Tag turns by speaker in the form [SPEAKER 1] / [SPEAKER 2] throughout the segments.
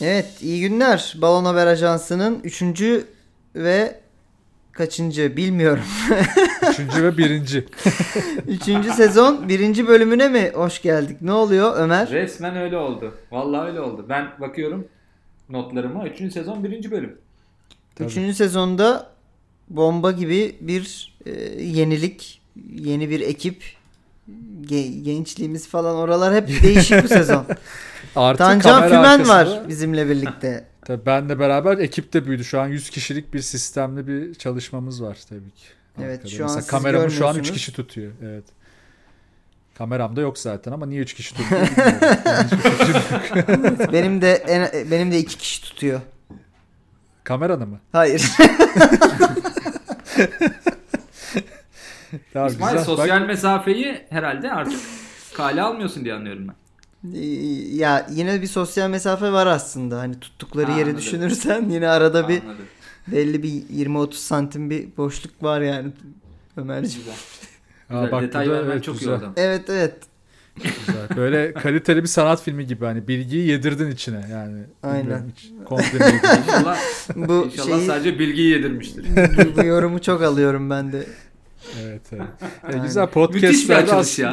[SPEAKER 1] Evet iyi günler. Balon Haber Ajansı'nın 3. ve kaçıncı bilmiyorum.
[SPEAKER 2] Üçüncü ve birinci.
[SPEAKER 1] 3. sezon 1. bölümüne mi hoş geldik? Ne oluyor Ömer?
[SPEAKER 3] Resmen öyle oldu. Vallahi öyle oldu. Ben bakıyorum notlarıma. 3. sezon 1. bölüm.
[SPEAKER 1] 3. sezonda bomba gibi bir e, yenilik, yeni bir ekip, ge- gençliğimiz falan oralar hep değişik bu sezon.
[SPEAKER 2] Artık
[SPEAKER 1] Tancan
[SPEAKER 2] kamera
[SPEAKER 1] Fümen
[SPEAKER 2] arkasında-
[SPEAKER 1] var bizimle birlikte.
[SPEAKER 2] Tabii benle beraber ekipte büyüdü. Şu an 100 kişilik bir sistemli bir çalışmamız var tabii ki.
[SPEAKER 1] Evet,
[SPEAKER 2] Arkada.
[SPEAKER 1] şu an
[SPEAKER 2] Mesela
[SPEAKER 1] siz
[SPEAKER 2] kameramı şu an 3
[SPEAKER 1] görmüyorsunuz.
[SPEAKER 2] kişi tutuyor. Evet. Kameram da yok zaten ama niye 3 kişi tutuyor? bilmiyorum. Yani hiçbir fikrim yok.
[SPEAKER 1] benim de en, benim de iki kişi tutuyor.
[SPEAKER 2] Kameranı mı?
[SPEAKER 1] Hayır.
[SPEAKER 2] Tamam,
[SPEAKER 3] İsmail
[SPEAKER 2] güzel.
[SPEAKER 3] sosyal
[SPEAKER 2] Bak,
[SPEAKER 3] mesafeyi herhalde artık kale almıyorsun diye anlıyorum ben.
[SPEAKER 1] Ee, ya yine bir sosyal mesafe var aslında. Hani tuttukları
[SPEAKER 3] Ha,
[SPEAKER 1] yeri
[SPEAKER 3] anladım.
[SPEAKER 1] düşünürsen yine arada bir
[SPEAKER 3] Anladım.
[SPEAKER 1] belli bir 20-30 santim bir boşluk var yani Ömerciğim.
[SPEAKER 3] Güzel.
[SPEAKER 2] Aa,
[SPEAKER 3] Güzel.
[SPEAKER 2] bak
[SPEAKER 3] Detay
[SPEAKER 2] bu da-
[SPEAKER 3] vermen
[SPEAKER 2] evet,
[SPEAKER 3] çok iyi
[SPEAKER 2] güzel,
[SPEAKER 3] oradan.
[SPEAKER 1] Evet evet.
[SPEAKER 2] güzel. Böyle kaliteli bir sanat filmi gibi hani bilgiyi yedirdin içine yani.
[SPEAKER 1] Aynen.
[SPEAKER 2] Bilmiyorum, hiç Komple bilgi.
[SPEAKER 3] İnşallah,
[SPEAKER 1] Bu
[SPEAKER 3] inşallah
[SPEAKER 1] şeyi
[SPEAKER 3] sadece bilgiyi yedirmiştir.
[SPEAKER 1] bu, bu yorumu çok alıyorum ben de.
[SPEAKER 2] evet, evet. E,
[SPEAKER 1] Aynen.
[SPEAKER 2] güzel
[SPEAKER 3] Müthiş bir
[SPEAKER 2] podcastlerde
[SPEAKER 3] açılış
[SPEAKER 2] aslında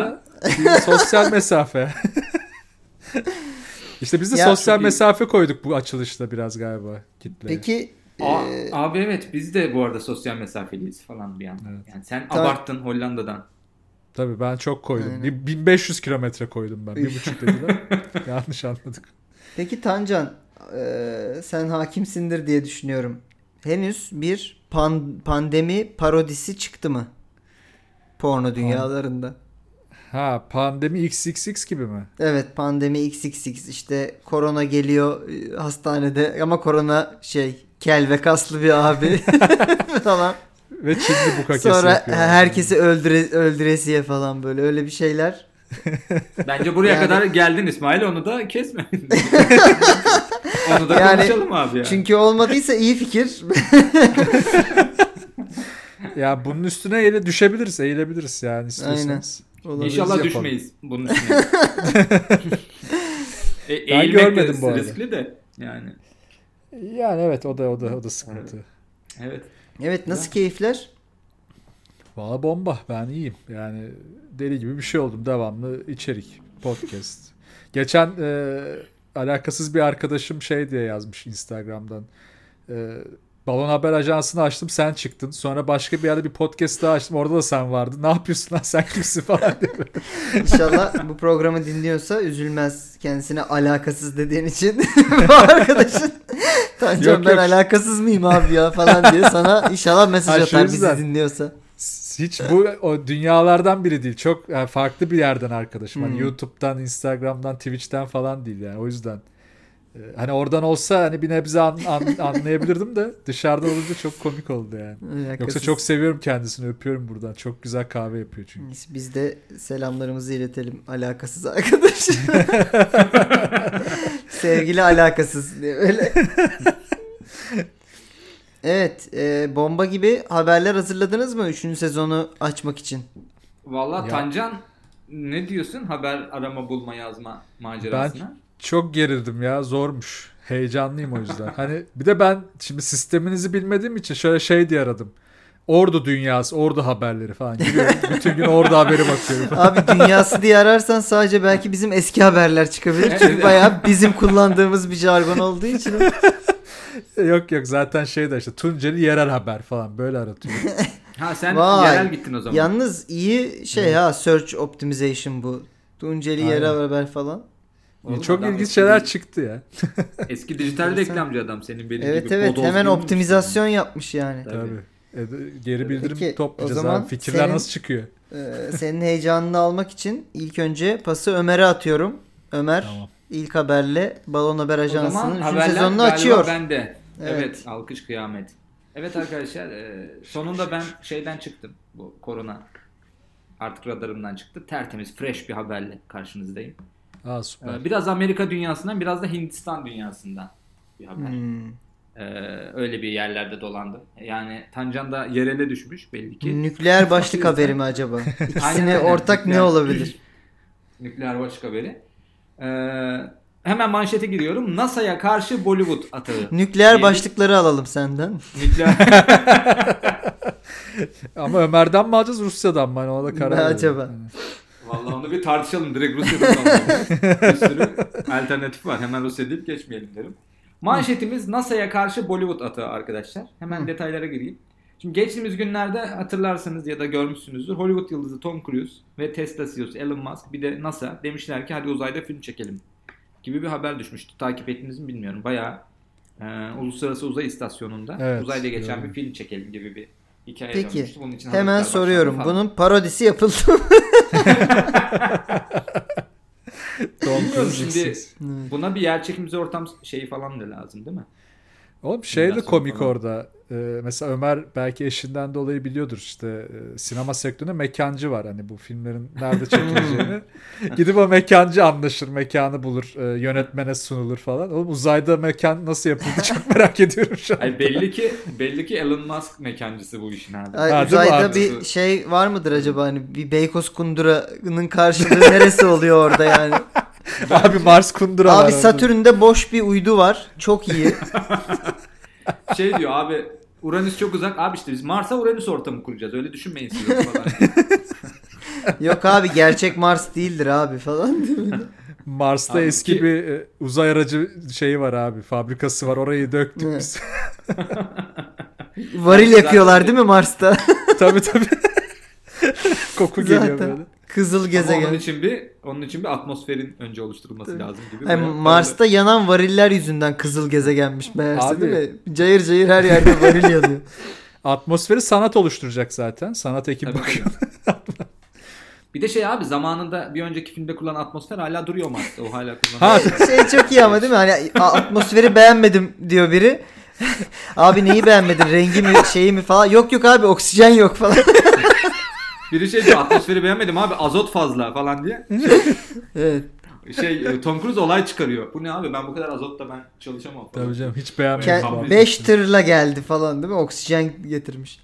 [SPEAKER 3] ya.
[SPEAKER 2] Bir sosyal mesafe. işte biz de
[SPEAKER 1] Ya,
[SPEAKER 2] sosyal
[SPEAKER 3] çok iyi.
[SPEAKER 2] mesafe koyduk bu açılışta biraz galiba kitleye.
[SPEAKER 1] Peki
[SPEAKER 3] Aa,
[SPEAKER 1] e,
[SPEAKER 3] abi evet biz de bu arada sosyal mesafeliyiz falan bir yandan.
[SPEAKER 2] Evet.
[SPEAKER 3] Yani sen
[SPEAKER 1] Tabii.
[SPEAKER 3] abarttın Hollanda'dan.
[SPEAKER 2] Tabii ben çok koydum.
[SPEAKER 1] Aynen.
[SPEAKER 2] Bir- 1500 kilometre koydum ben. Bir
[SPEAKER 1] Üf.
[SPEAKER 2] buçuk dediler. Yanlış anladık.
[SPEAKER 1] peki Tancan e, sen hakimsindir diye düşünüyorum. Henüz bir pan- pandemi parodisi çıktı mı? Porno dünyalarında.
[SPEAKER 2] Ha pandemi XXX gibi mi?
[SPEAKER 1] Evet pandemi XXX işte korona geliyor e, hastanede ama korona şey kel ve kaslı bir abi falan.
[SPEAKER 2] Ve Çinli bu kakesi
[SPEAKER 1] Sonra
[SPEAKER 2] yapıyor.
[SPEAKER 1] herkesi öldüre, öldüresiye falan böyle öyle bir şeyler.
[SPEAKER 3] Bence buraya
[SPEAKER 1] Yani-
[SPEAKER 3] kadar geldin İsmail onu da kesme. onu da
[SPEAKER 1] Yani-
[SPEAKER 3] konuşalım abi ya.
[SPEAKER 1] Çünkü olmadıysa iyi fikir.
[SPEAKER 2] Ya bunun üstüne eğile düşebiliriz, eğilebiliriz yani istiyorsanız.
[SPEAKER 1] Olabilir.
[SPEAKER 3] İnşallah
[SPEAKER 2] yapalım.
[SPEAKER 3] düşmeyiz bunun üstüne. e, eğilmek
[SPEAKER 2] görmedim
[SPEAKER 3] de
[SPEAKER 2] bu arada.
[SPEAKER 3] riskli de yani.
[SPEAKER 2] Yani evet o da o da o da sıkıntı.
[SPEAKER 3] Evet.
[SPEAKER 1] Evet nasıl keyifler?
[SPEAKER 2] Valla bomba. Ben iyiyim. Yani deli gibi bir şey oldum. Devamlı içerik. Podcast. Geçen e, alakasız bir arkadaşım şey diye yazmış Instagram'dan. E, Balon Haber Ajansı'nı açtım sen çıktın. Sonra başka bir yerde bir podcast daha açtım. Orada da sen vardın. Ne yapıyorsun lan sen kimsin falan diye.
[SPEAKER 1] İnşallah bu programı dinliyorsa üzülmez kendisine alakasız dediğin için bu arkadaşın. Tancan
[SPEAKER 2] Yok,
[SPEAKER 1] ben
[SPEAKER 2] yok.
[SPEAKER 1] alakasız mıyım abi ya falan diye sana inşallah mesaj
[SPEAKER 2] Ha, şu
[SPEAKER 1] atar bizi
[SPEAKER 2] yüzden.
[SPEAKER 1] dinliyorsa.
[SPEAKER 2] Hiç bu o dünyalardan biri değil. Çok yani farklı bir yerden arkadaşım. Hani
[SPEAKER 1] Hmm.
[SPEAKER 2] YouTube'dan, Instagram'dan, Twitch'ten falan değil yani. O yüzden e, hani oradan olsa hani bir nebze an- an- anlayabilirdim de dışarıdan olunca çok komik oldu yani. Yoksa
[SPEAKER 1] Alakasız.
[SPEAKER 2] çok seviyorum kendisini. Öpüyorum buradan. Çok güzel kahve yapıyor çünkü.
[SPEAKER 1] Biz- Biz de selamlarımızı iletelim alakasız arkadaş. Sevgili alakasız diye öyle. Evet, e, bomba gibi haberler hazırladınız mı 3. sezonu açmak için?
[SPEAKER 3] Valla
[SPEAKER 2] Ya.
[SPEAKER 3] Tancan ne diyorsun haber arama bulma yazma macerasına?
[SPEAKER 2] Çok gerildim ya. Zormuş. Heyecanlıyım o yüzden. hani bir de ben şimdi sisteminizi bilmediğim için şöyle şey diye aradım. Ordu dünyası, ordu haberleri falan giriyorum. Bütün gün ordu haberi bakıyorum.
[SPEAKER 1] Abi dünyası diye ararsan sadece belki bizim eski haberler çıkabilir. Çünkü
[SPEAKER 3] Evet.
[SPEAKER 1] bayağı bizim kullandığımız bir jargon olduğu için.
[SPEAKER 2] Yok yok zaten şey de işte Tunceli yerel haber falan böyle aratıyor.
[SPEAKER 3] Ha sen
[SPEAKER 1] Vay.
[SPEAKER 3] yerel gittin o zaman.
[SPEAKER 1] Yalnız iyi şey ha search optimization bu. Tunceli
[SPEAKER 2] Aynen.
[SPEAKER 1] yere haber falan.
[SPEAKER 3] Oğlum
[SPEAKER 2] E, Çok
[SPEAKER 3] adam
[SPEAKER 2] ilginç
[SPEAKER 3] eski-
[SPEAKER 2] şeyler çıktı ya.
[SPEAKER 3] Eski dijital
[SPEAKER 1] Enteresan.
[SPEAKER 3] reklamcı adam senin benim
[SPEAKER 1] Evet
[SPEAKER 3] gibi.
[SPEAKER 1] evet
[SPEAKER 3] bodoz
[SPEAKER 1] hemen
[SPEAKER 3] değil mi?
[SPEAKER 1] optimizasyon yapmış yani.
[SPEAKER 3] Tabii.
[SPEAKER 2] Tabii. E, de- geri bildirim
[SPEAKER 1] Peki, o
[SPEAKER 2] toplayacağız
[SPEAKER 1] zaman
[SPEAKER 2] abi. Fikirler
[SPEAKER 1] senin-
[SPEAKER 2] nasıl çıkıyor?
[SPEAKER 1] Ee, senin heyecanını almak için ilk önce pası Ömer'e atıyorum. Ömer
[SPEAKER 2] Tamam.
[SPEAKER 1] ilk haberle Balon Haber
[SPEAKER 3] O zaman
[SPEAKER 1] Ajansı'nın 3.
[SPEAKER 3] haberler
[SPEAKER 1] sezonunu
[SPEAKER 3] galiba
[SPEAKER 1] açıyor.
[SPEAKER 3] Bende. Evet.
[SPEAKER 1] Evet.
[SPEAKER 3] alkış kıyamet. Evet arkadaşlar e, sonunda ben şeyden çıktım bu korona artık radarımdan çıktı. Tertemiz fresh bir haberle karşınızdayım.
[SPEAKER 2] Aa süper.
[SPEAKER 3] E, biraz Amerika dünyasından biraz da Hindistan dünyasından bir haber.
[SPEAKER 1] Hmm.
[SPEAKER 3] E, öyle bir yerlerde dolandım. Yani Tancan da yerele düşmüş belli ki.
[SPEAKER 1] Nükleer başlık haberi mi acaba? İkisine
[SPEAKER 3] Aynen, aynen.
[SPEAKER 1] ortak ne
[SPEAKER 3] Nükleer-
[SPEAKER 1] olabilir?
[SPEAKER 3] Nükleer başlık haberi. Ee, Hemen manşete giriyorum. NASA'ya karşı Bollywood atağı.
[SPEAKER 1] Nükleer
[SPEAKER 3] Diyelim.
[SPEAKER 1] başlıkları alalım senden.
[SPEAKER 3] Nükleer-
[SPEAKER 2] Ama Ömer'den mi alacağız Rusya'dan mı? Hani ona da karar
[SPEAKER 1] Ne
[SPEAKER 2] verelim.
[SPEAKER 1] acaba?
[SPEAKER 2] Hani.
[SPEAKER 3] Vallahi onu bir tartışalım. Direkt Rusya'dan alalım. Bir sürü alternatif var. Hemen Rusya deyip geçmeyelim derim. Manşetimiz NASA'ya karşı Bollywood atağı arkadaşlar. Hemen
[SPEAKER 1] Hı.
[SPEAKER 3] detaylara gireyim. Şimdi geçtiğimiz günlerde hatırlarsınız ya da görmüşsünüzdür. Hollywood yıldızı Tom Cruise ve Tesla CEO'su Elon Musk bir de NASA demişler ki hadi uzayda film çekelim gibi bir haber düşmüştü. Takip ettiniz mi bilmiyorum. Bayağı e, uluslararası uzay istasyonunda
[SPEAKER 2] Evet,
[SPEAKER 3] uzayda geçen
[SPEAKER 2] gördüm.
[SPEAKER 3] bir film çekelim gibi bir hikaye
[SPEAKER 1] Peki,
[SPEAKER 3] dönmüştü. Bunun için
[SPEAKER 1] Hemen
[SPEAKER 3] hazırlıklar başlandı
[SPEAKER 1] soruyorum.
[SPEAKER 3] falan.
[SPEAKER 1] Bunun parodisi yapıldı mı?
[SPEAKER 2] Tom
[SPEAKER 3] Bilmiyorum
[SPEAKER 2] Cruise
[SPEAKER 3] şimdi.
[SPEAKER 2] X'siz.
[SPEAKER 1] Evet.
[SPEAKER 3] Buna bir yer çekimize ortam şeyi falan da lazım değil mi?
[SPEAKER 2] Oğlum şey de
[SPEAKER 3] Biraz
[SPEAKER 2] komik
[SPEAKER 3] sonra.
[SPEAKER 2] orada. Ee, mesela Ömer belki eşinden dolayı biliyordur işte e, sinema sektöründe mekancı var hani bu filmlerin nerede çekileceğini. Gidip o mekancı anlaşır, mekanı bulur, e, yönetmene sunulur falan. Oğlum uzayda mekan nasıl yapıldı çok merak ediyorum şu an.
[SPEAKER 3] Ay belli ki belli ki Elon Musk mekancısı bu işin abi.
[SPEAKER 1] Ay,
[SPEAKER 2] Ha, değil mi
[SPEAKER 1] uzayda
[SPEAKER 2] abi?
[SPEAKER 1] bir şey var mıdır acaba hani bir Beykoz Kundura'nın karşılığı neresi oluyor orada yani?
[SPEAKER 3] şey-
[SPEAKER 2] Abi Mars kundura var
[SPEAKER 1] Abi
[SPEAKER 2] orada.
[SPEAKER 1] Satürn'de boş bir uydu var. Çok iyi.
[SPEAKER 3] Şey diyor abi Uranüs çok uzak. Abi işte biz Mars'a Uranüs ortamı kuracağız. Öyle düşünmeyin siz yok falan.
[SPEAKER 1] Yok abi gerçek Mars değildir abi falan.
[SPEAKER 2] Mars'ta
[SPEAKER 3] Abi
[SPEAKER 2] eski
[SPEAKER 3] ki-
[SPEAKER 2] bir e, uzay aracı şeyi var abi. Fabrikası var. Orayı döktük
[SPEAKER 1] Evet.
[SPEAKER 2] biz.
[SPEAKER 1] Varil yakıyorlar değil mi Mars'ta?
[SPEAKER 2] tabii tabii. Koku geliyor
[SPEAKER 1] Zaten.
[SPEAKER 2] böyle.
[SPEAKER 1] Kızıl
[SPEAKER 3] Ama onun
[SPEAKER 1] gezegen.
[SPEAKER 3] için bir onun için bir atmosferin önce oluşturulması lazım gibi.
[SPEAKER 1] Ay,
[SPEAKER 3] Bayağı-
[SPEAKER 1] Mars'ta yanan variller yüzünden kızıl gezegenmiş meğerse
[SPEAKER 2] Abi.
[SPEAKER 1] değil mi? Cayır cayır her yerde varil yanıyor.
[SPEAKER 2] Atmosferi sanat oluşturacak zaten. Sanat ekibi
[SPEAKER 3] Tabii, tabii.
[SPEAKER 2] bakıyor.
[SPEAKER 3] Bir de şey abi zamanında bir önceki filmde kullanılan atmosfer hala duruyor Mars'ta. O hala kullanılıyor.
[SPEAKER 2] Ha
[SPEAKER 1] Şey çok iyi ama değil mi? Hani a- atmosferi beğenmedim diyor biri. abi neyi beğenmedin? Rengi mi şeyi mi falan? Yok yok abi oksijen yok falan.
[SPEAKER 3] Biri şey diyor atmosferi beğenmedim abi azot fazla falan diye.
[SPEAKER 1] evet.
[SPEAKER 3] Şey e, Tom Cruise olay çıkarıyor. Bu ne abi ben bu kadar azotla ben çalışamam falan.
[SPEAKER 2] Tabii canım hiç beğenmedim.
[SPEAKER 3] Ke-
[SPEAKER 2] falan.
[SPEAKER 1] Ke- beş tırla geldi falan değil mi? Oksijen getirmiş.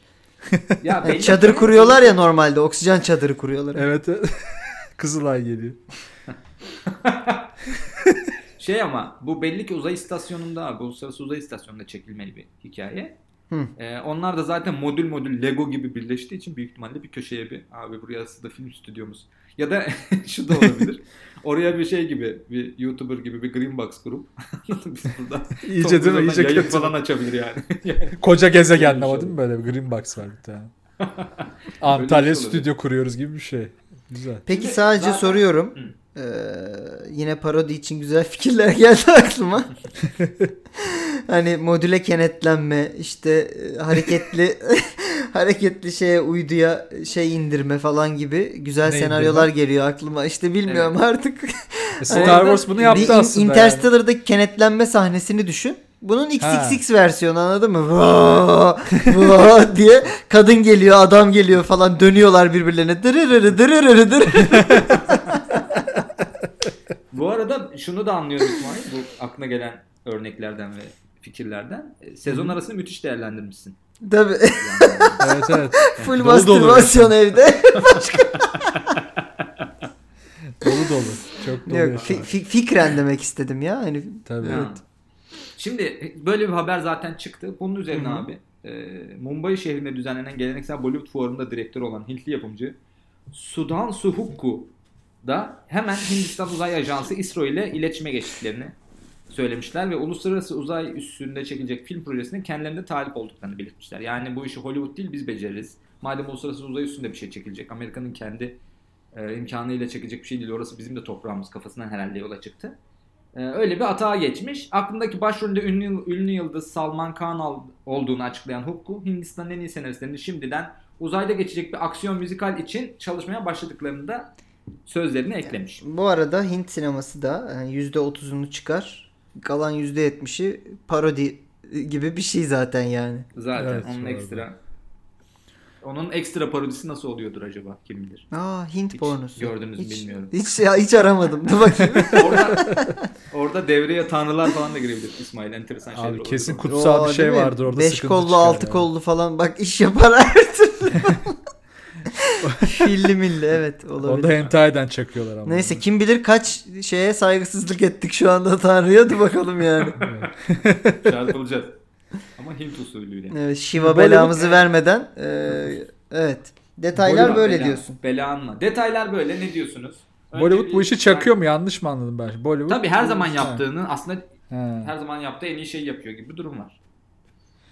[SPEAKER 3] Ya
[SPEAKER 1] Yani
[SPEAKER 3] belli-
[SPEAKER 1] E, çadır kuruyorlar ya normalde. Oksijen çadırı kuruyorlar.
[SPEAKER 2] Evet. evet. Kızılay geliyor.
[SPEAKER 3] Şey ama bu belli ki uzay istasyonunda abi uluslararası uzay istasyonunda çekilmeli bir hikaye.
[SPEAKER 1] Hı.
[SPEAKER 3] Ee, onlar da zaten modül modül Lego gibi birleştiği için büyük ihtimalle bir köşeye bir abi burası da film stüdyomuz. Ya da şu da olabilir. Oraya bir şey gibi bir YouTuber gibi bir Green Box grup. Biz burada
[SPEAKER 2] İyice değil mi? İyice
[SPEAKER 3] yayın
[SPEAKER 2] kötü.
[SPEAKER 3] falan açabilir yani.
[SPEAKER 2] Koca gezegen
[SPEAKER 3] Öyle bir
[SPEAKER 2] ama
[SPEAKER 3] şey
[SPEAKER 2] değil mi böyle? Green Box var bir tane. Antalya
[SPEAKER 3] şey olabilir.
[SPEAKER 2] stüdyo kuruyoruz gibi bir şey. Güzel.
[SPEAKER 1] Peki
[SPEAKER 3] Şimdi
[SPEAKER 1] sadece
[SPEAKER 3] zaten-
[SPEAKER 1] soruyorum. Ee, yine parodi için güzel fikirler geldi aklıma. hani modüle kenetlenme, işte e, hareketli hareketli şeye uyduya şey indirme falan gibi güzel
[SPEAKER 2] Ne
[SPEAKER 1] senaryolar geliyor aklıma. İşte bilmiyorum artık. Hani
[SPEAKER 2] E, Star Wars bunu yaptı
[SPEAKER 1] Bir in-
[SPEAKER 2] aslında. yani.
[SPEAKER 1] Interstellar'daki kenetlenme sahnesini düşün. Bunun
[SPEAKER 2] Ha.
[SPEAKER 1] XXX versiyonu anladın mı? Vaa, vaa diye kadın geliyor, adam geliyor falan dönüyorlar birbirlerine. Dırırırı dırırırı dırırırı.
[SPEAKER 3] Bu arada şunu da anlıyoruz İsmail. Bu aklına gelen örneklerden ve fikirlerden. E, Sezon arasını müthiş değerlendirmişsin.
[SPEAKER 1] Tabii.
[SPEAKER 3] Yani-
[SPEAKER 2] Evet evet.
[SPEAKER 1] Full
[SPEAKER 2] Dolu dolu.
[SPEAKER 1] mastürbasyon evde.
[SPEAKER 2] Dolu dolu. Çok dolu.
[SPEAKER 1] Yok,
[SPEAKER 2] yaşam.
[SPEAKER 1] fi- fi- fikren demek istedim ya. Hani
[SPEAKER 2] Tabii.
[SPEAKER 3] Ha. Şimdi e, böyle bir haber zaten çıktı. Bunun üzerine abi e, Mumbai şehrinde düzenlenen geleneksel Bollywood fuarında direktör olan Hintli yapımcı Sudan Suhukku da hemen Hindistan Uzay Ajansı ISRO ile iletişime geçtiklerini söylemişler ve uluslararası uzay üstünde çekilecek film projesinin kendilerine talip olduklarını belirtmişler. Yani bu işi Hollywood değil biz beceririz. Madem uluslararası uzay üstünde bir şey çekilecek, Amerika'nın kendi e, imkanıyla çekecek bir şey değil. Orası bizim de toprağımız kafasından herhalde yola çıktı. Ee, öyle bir atağa geçmiş. Aklındaki başrolünde ünlü, ünlü yıldız Salman Khan al- olduğunu açıklayan Hukku, Hindistan'ın en iyi senaristlerini şimdiden uzayda geçecek bir aksiyon müzikal için çalışmaya başladıklarını da sözlerine eklemiş.
[SPEAKER 1] bu arada Hint sineması da yani %30'unu çıkar. Kalan %70'i parodi gibi bir şey zaten yani.
[SPEAKER 3] Zaten
[SPEAKER 2] Evet,
[SPEAKER 3] onun
[SPEAKER 2] bu arada.
[SPEAKER 3] ekstra onun ekstra parodisi nasıl oluyordur acaba kim bilir.
[SPEAKER 1] Aa Hint
[SPEAKER 3] Hiç
[SPEAKER 1] pornosu.
[SPEAKER 3] gördünüz mü
[SPEAKER 1] Hiç-
[SPEAKER 3] bilmiyorum.
[SPEAKER 1] Hiç ya, hiç aramadım. Dur bakayım.
[SPEAKER 3] Orada, orada devreye tanrılar falan da girebilir İsmail enteresan şeyler
[SPEAKER 2] Abi
[SPEAKER 3] olabilir
[SPEAKER 2] kesin
[SPEAKER 3] orada.
[SPEAKER 2] kutsal
[SPEAKER 1] Oo,
[SPEAKER 2] bir şey
[SPEAKER 1] değil mi?
[SPEAKER 2] vardır orada.
[SPEAKER 1] Beş
[SPEAKER 2] sıkıntı
[SPEAKER 1] kollu
[SPEAKER 2] çıkar
[SPEAKER 1] altı
[SPEAKER 2] yani.
[SPEAKER 1] kollu falan bak iş yapar. Filli milli evet
[SPEAKER 2] Onda
[SPEAKER 1] olabilir.
[SPEAKER 2] hentai'den çakıyorlar ama.
[SPEAKER 1] Neyse kim bilir kaç şeye saygısızlık ettik şu anda Tanrı'ya hadi bakalım yani.
[SPEAKER 3] Çarpılacağız. Ama Hint usulüyle.
[SPEAKER 1] Evet, Şiva
[SPEAKER 2] Bollywood-
[SPEAKER 1] belamızı vermeden eee, evet. Detaylar
[SPEAKER 3] Bollywood
[SPEAKER 1] böyle
[SPEAKER 3] bela-
[SPEAKER 1] diyorsun.
[SPEAKER 3] Bela anma. Detaylar böyle ne diyorsunuz? Önce
[SPEAKER 2] Bollywood bu
[SPEAKER 3] bir-
[SPEAKER 2] işi çakıyor mu? Yanlış mı anladım ben? Bollywood.
[SPEAKER 3] Tabii her zaman
[SPEAKER 2] Ha.
[SPEAKER 3] yaptığının aslında
[SPEAKER 2] Ha.
[SPEAKER 3] her zaman yaptığı en iyi şeyi yapıyor gibi bir durum var.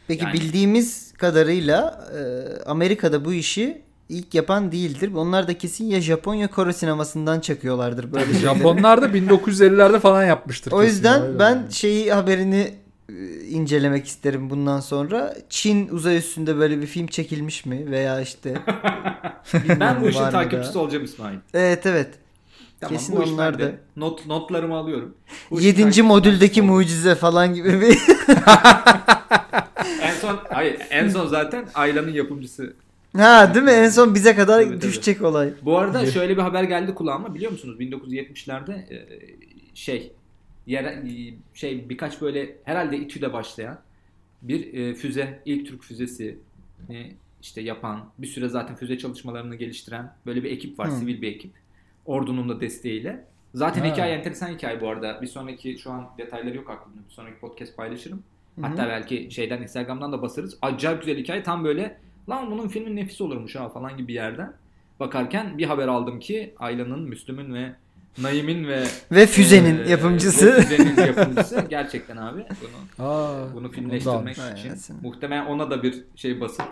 [SPEAKER 1] Peki
[SPEAKER 3] Yani-
[SPEAKER 1] bildiğimiz kadarıyla eee, Amerika'da bu işi ilk yapan değildir. Onlar da kesin ya Japon ya Kore sinemasından çakıyorlardır böyle. şey.
[SPEAKER 2] Japonlar da 1950'lerde falan yapmıştır.
[SPEAKER 1] o
[SPEAKER 2] kesin.
[SPEAKER 1] yüzden
[SPEAKER 2] Öyle
[SPEAKER 1] ben
[SPEAKER 2] yani.
[SPEAKER 1] şeyi haberini eee, incelemek isterim bundan sonra. Çin uzay üstünde böyle bir film çekilmiş mi veya işte
[SPEAKER 3] Ben bu
[SPEAKER 1] Var
[SPEAKER 3] işin
[SPEAKER 1] mı
[SPEAKER 3] takipçisi
[SPEAKER 1] daha?
[SPEAKER 3] olacağım İsmail.
[SPEAKER 1] Evet evet.
[SPEAKER 3] Tamam,
[SPEAKER 1] Kesin
[SPEAKER 3] bu iş
[SPEAKER 1] onlar
[SPEAKER 3] bende.
[SPEAKER 1] da.
[SPEAKER 3] Not, notlarımı alıyorum. Bu işin
[SPEAKER 1] Yedinci
[SPEAKER 3] takipçisi
[SPEAKER 1] modüldeki
[SPEAKER 3] olacağım.
[SPEAKER 1] mucize falan gibi bir
[SPEAKER 3] En son, hayır, en son zaten Ayla'nın yapımcısı.
[SPEAKER 1] Ha değil mi? En son bize kadar
[SPEAKER 3] Tabii, tabii.
[SPEAKER 1] düşecek olay.
[SPEAKER 3] Bu arada şöyle bir haber geldi kulağıma biliyor musunuz? 1970'lerde e, şey yere- e, şey birkaç böyle herhalde İTÜ'de başlayan bir e, füze, ilk Türk füzesi e, işte yapan, bir süre zaten füze çalışmalarını geliştiren böyle bir ekip var,
[SPEAKER 1] Hı.
[SPEAKER 3] sivil bir ekip. Ordunun da desteğiyle. Zaten
[SPEAKER 2] Ha.
[SPEAKER 3] hikaye enteresan hikaye bu arada. Bir sonraki şu an detayları yok aklımda. Bir sonraki podcast paylaşırım.
[SPEAKER 1] Hı hı.
[SPEAKER 3] Hatta belki şeyden Instagram'dan da basarız. Acayip güzel hikaye. Tam böyle lan bunun filmi nefis olurmuş ha falan gibi bir yerden. Bakarken bir haber aldım ki Ayla'nın, Müslüm'ün ve Naim'in ve
[SPEAKER 1] Ve füzenin
[SPEAKER 3] eee, ve
[SPEAKER 1] yapımcısı.
[SPEAKER 3] füzenin yapımcısı gerçekten abi bunu
[SPEAKER 2] Aa,
[SPEAKER 3] bunu
[SPEAKER 2] ondan.
[SPEAKER 3] filmleştirmek
[SPEAKER 1] Aynen.
[SPEAKER 3] için
[SPEAKER 1] Aynen.
[SPEAKER 3] muhtemelen ona da bir şey basıp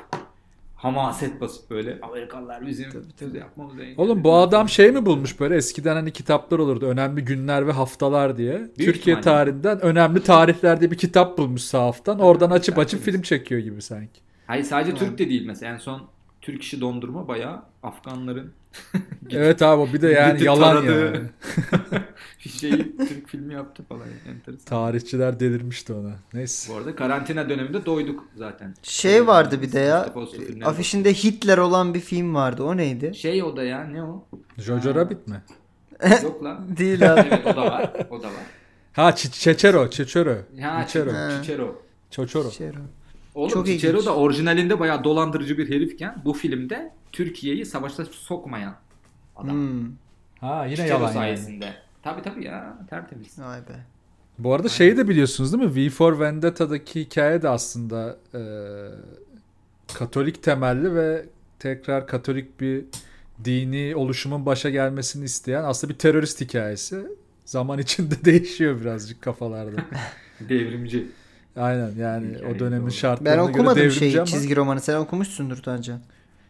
[SPEAKER 3] hamaset basıp böyle Amerikalılar bizim
[SPEAKER 1] Tabii,
[SPEAKER 3] füze yapmamız en
[SPEAKER 2] Oğlum bu adam şey mi bulmuş böyle eskiden hani kitaplar olurdu önemli günler ve haftalar diye. Türkiye
[SPEAKER 3] ihtimalle.
[SPEAKER 2] tarihinden önemli tarihlerde bir kitap bulmuş sahaftan. Oradan açıp
[SPEAKER 3] Ben
[SPEAKER 2] açıp
[SPEAKER 3] bilmiyorum.
[SPEAKER 2] film çekiyor gibi sanki.
[SPEAKER 3] Hayır sadece Türk de değil mesela en son Türk işi dondurma bayağı Afganların
[SPEAKER 2] Evet abi o bir de yani
[SPEAKER 3] Gitti
[SPEAKER 2] yalan
[SPEAKER 3] taradı.
[SPEAKER 2] yani.
[SPEAKER 3] şeyi Türk filmi yaptı falan enteresan.
[SPEAKER 2] Tarihçiler delirmişti ona. Neyse.
[SPEAKER 3] Bu arada karantina döneminde doyduk zaten.
[SPEAKER 1] Şey vardı bir de ya. e,
[SPEAKER 3] Mustafa Uslu filmleri
[SPEAKER 1] Afişinde Hitler olan bir film vardı. O neydi?
[SPEAKER 3] baktık. Şey o da ya ne o?
[SPEAKER 2] Jojo Rabbit mi?
[SPEAKER 3] Yok lan.
[SPEAKER 1] Değil abi.
[SPEAKER 3] Evet o da var. O da var.
[SPEAKER 2] Ha Çi- Çeçero, Çeçero.
[SPEAKER 3] Ya
[SPEAKER 2] Çiçero.
[SPEAKER 1] Ha.
[SPEAKER 3] Çiçero.
[SPEAKER 2] Çoçoro.
[SPEAKER 1] Şey,
[SPEAKER 3] Oğlum
[SPEAKER 1] Çok
[SPEAKER 3] Çiçero
[SPEAKER 1] ilginç.
[SPEAKER 3] da orijinalinde bayağı dolandırıcı bir herifken bu filmde Türkiye'yi savaşta sokmayan adam.
[SPEAKER 1] Hmm.
[SPEAKER 2] Ha yine
[SPEAKER 3] Çiçero
[SPEAKER 2] yalan yani.
[SPEAKER 3] sayesinde. Tabii tabii ya tertemiz.
[SPEAKER 1] Vay be.
[SPEAKER 2] Bu arada şeyi de biliyorsunuz değil mi? V for Vendetta'daki hikaye de aslında e, Katolik temelli ve tekrar Katolik bir dini oluşumun başa gelmesini isteyen aslında bir terörist hikayesi. Zaman içinde değişiyor birazcık kafalarda.
[SPEAKER 3] Devrimci.
[SPEAKER 2] Aynen yani
[SPEAKER 3] Hikaye
[SPEAKER 2] o dönemin
[SPEAKER 3] doğru.
[SPEAKER 1] Ben
[SPEAKER 2] şartlarına göre
[SPEAKER 1] okumadım
[SPEAKER 2] devrimci
[SPEAKER 1] şeyi
[SPEAKER 2] ama.
[SPEAKER 1] çizgi romanı. Sen okumuşsundur Tancan.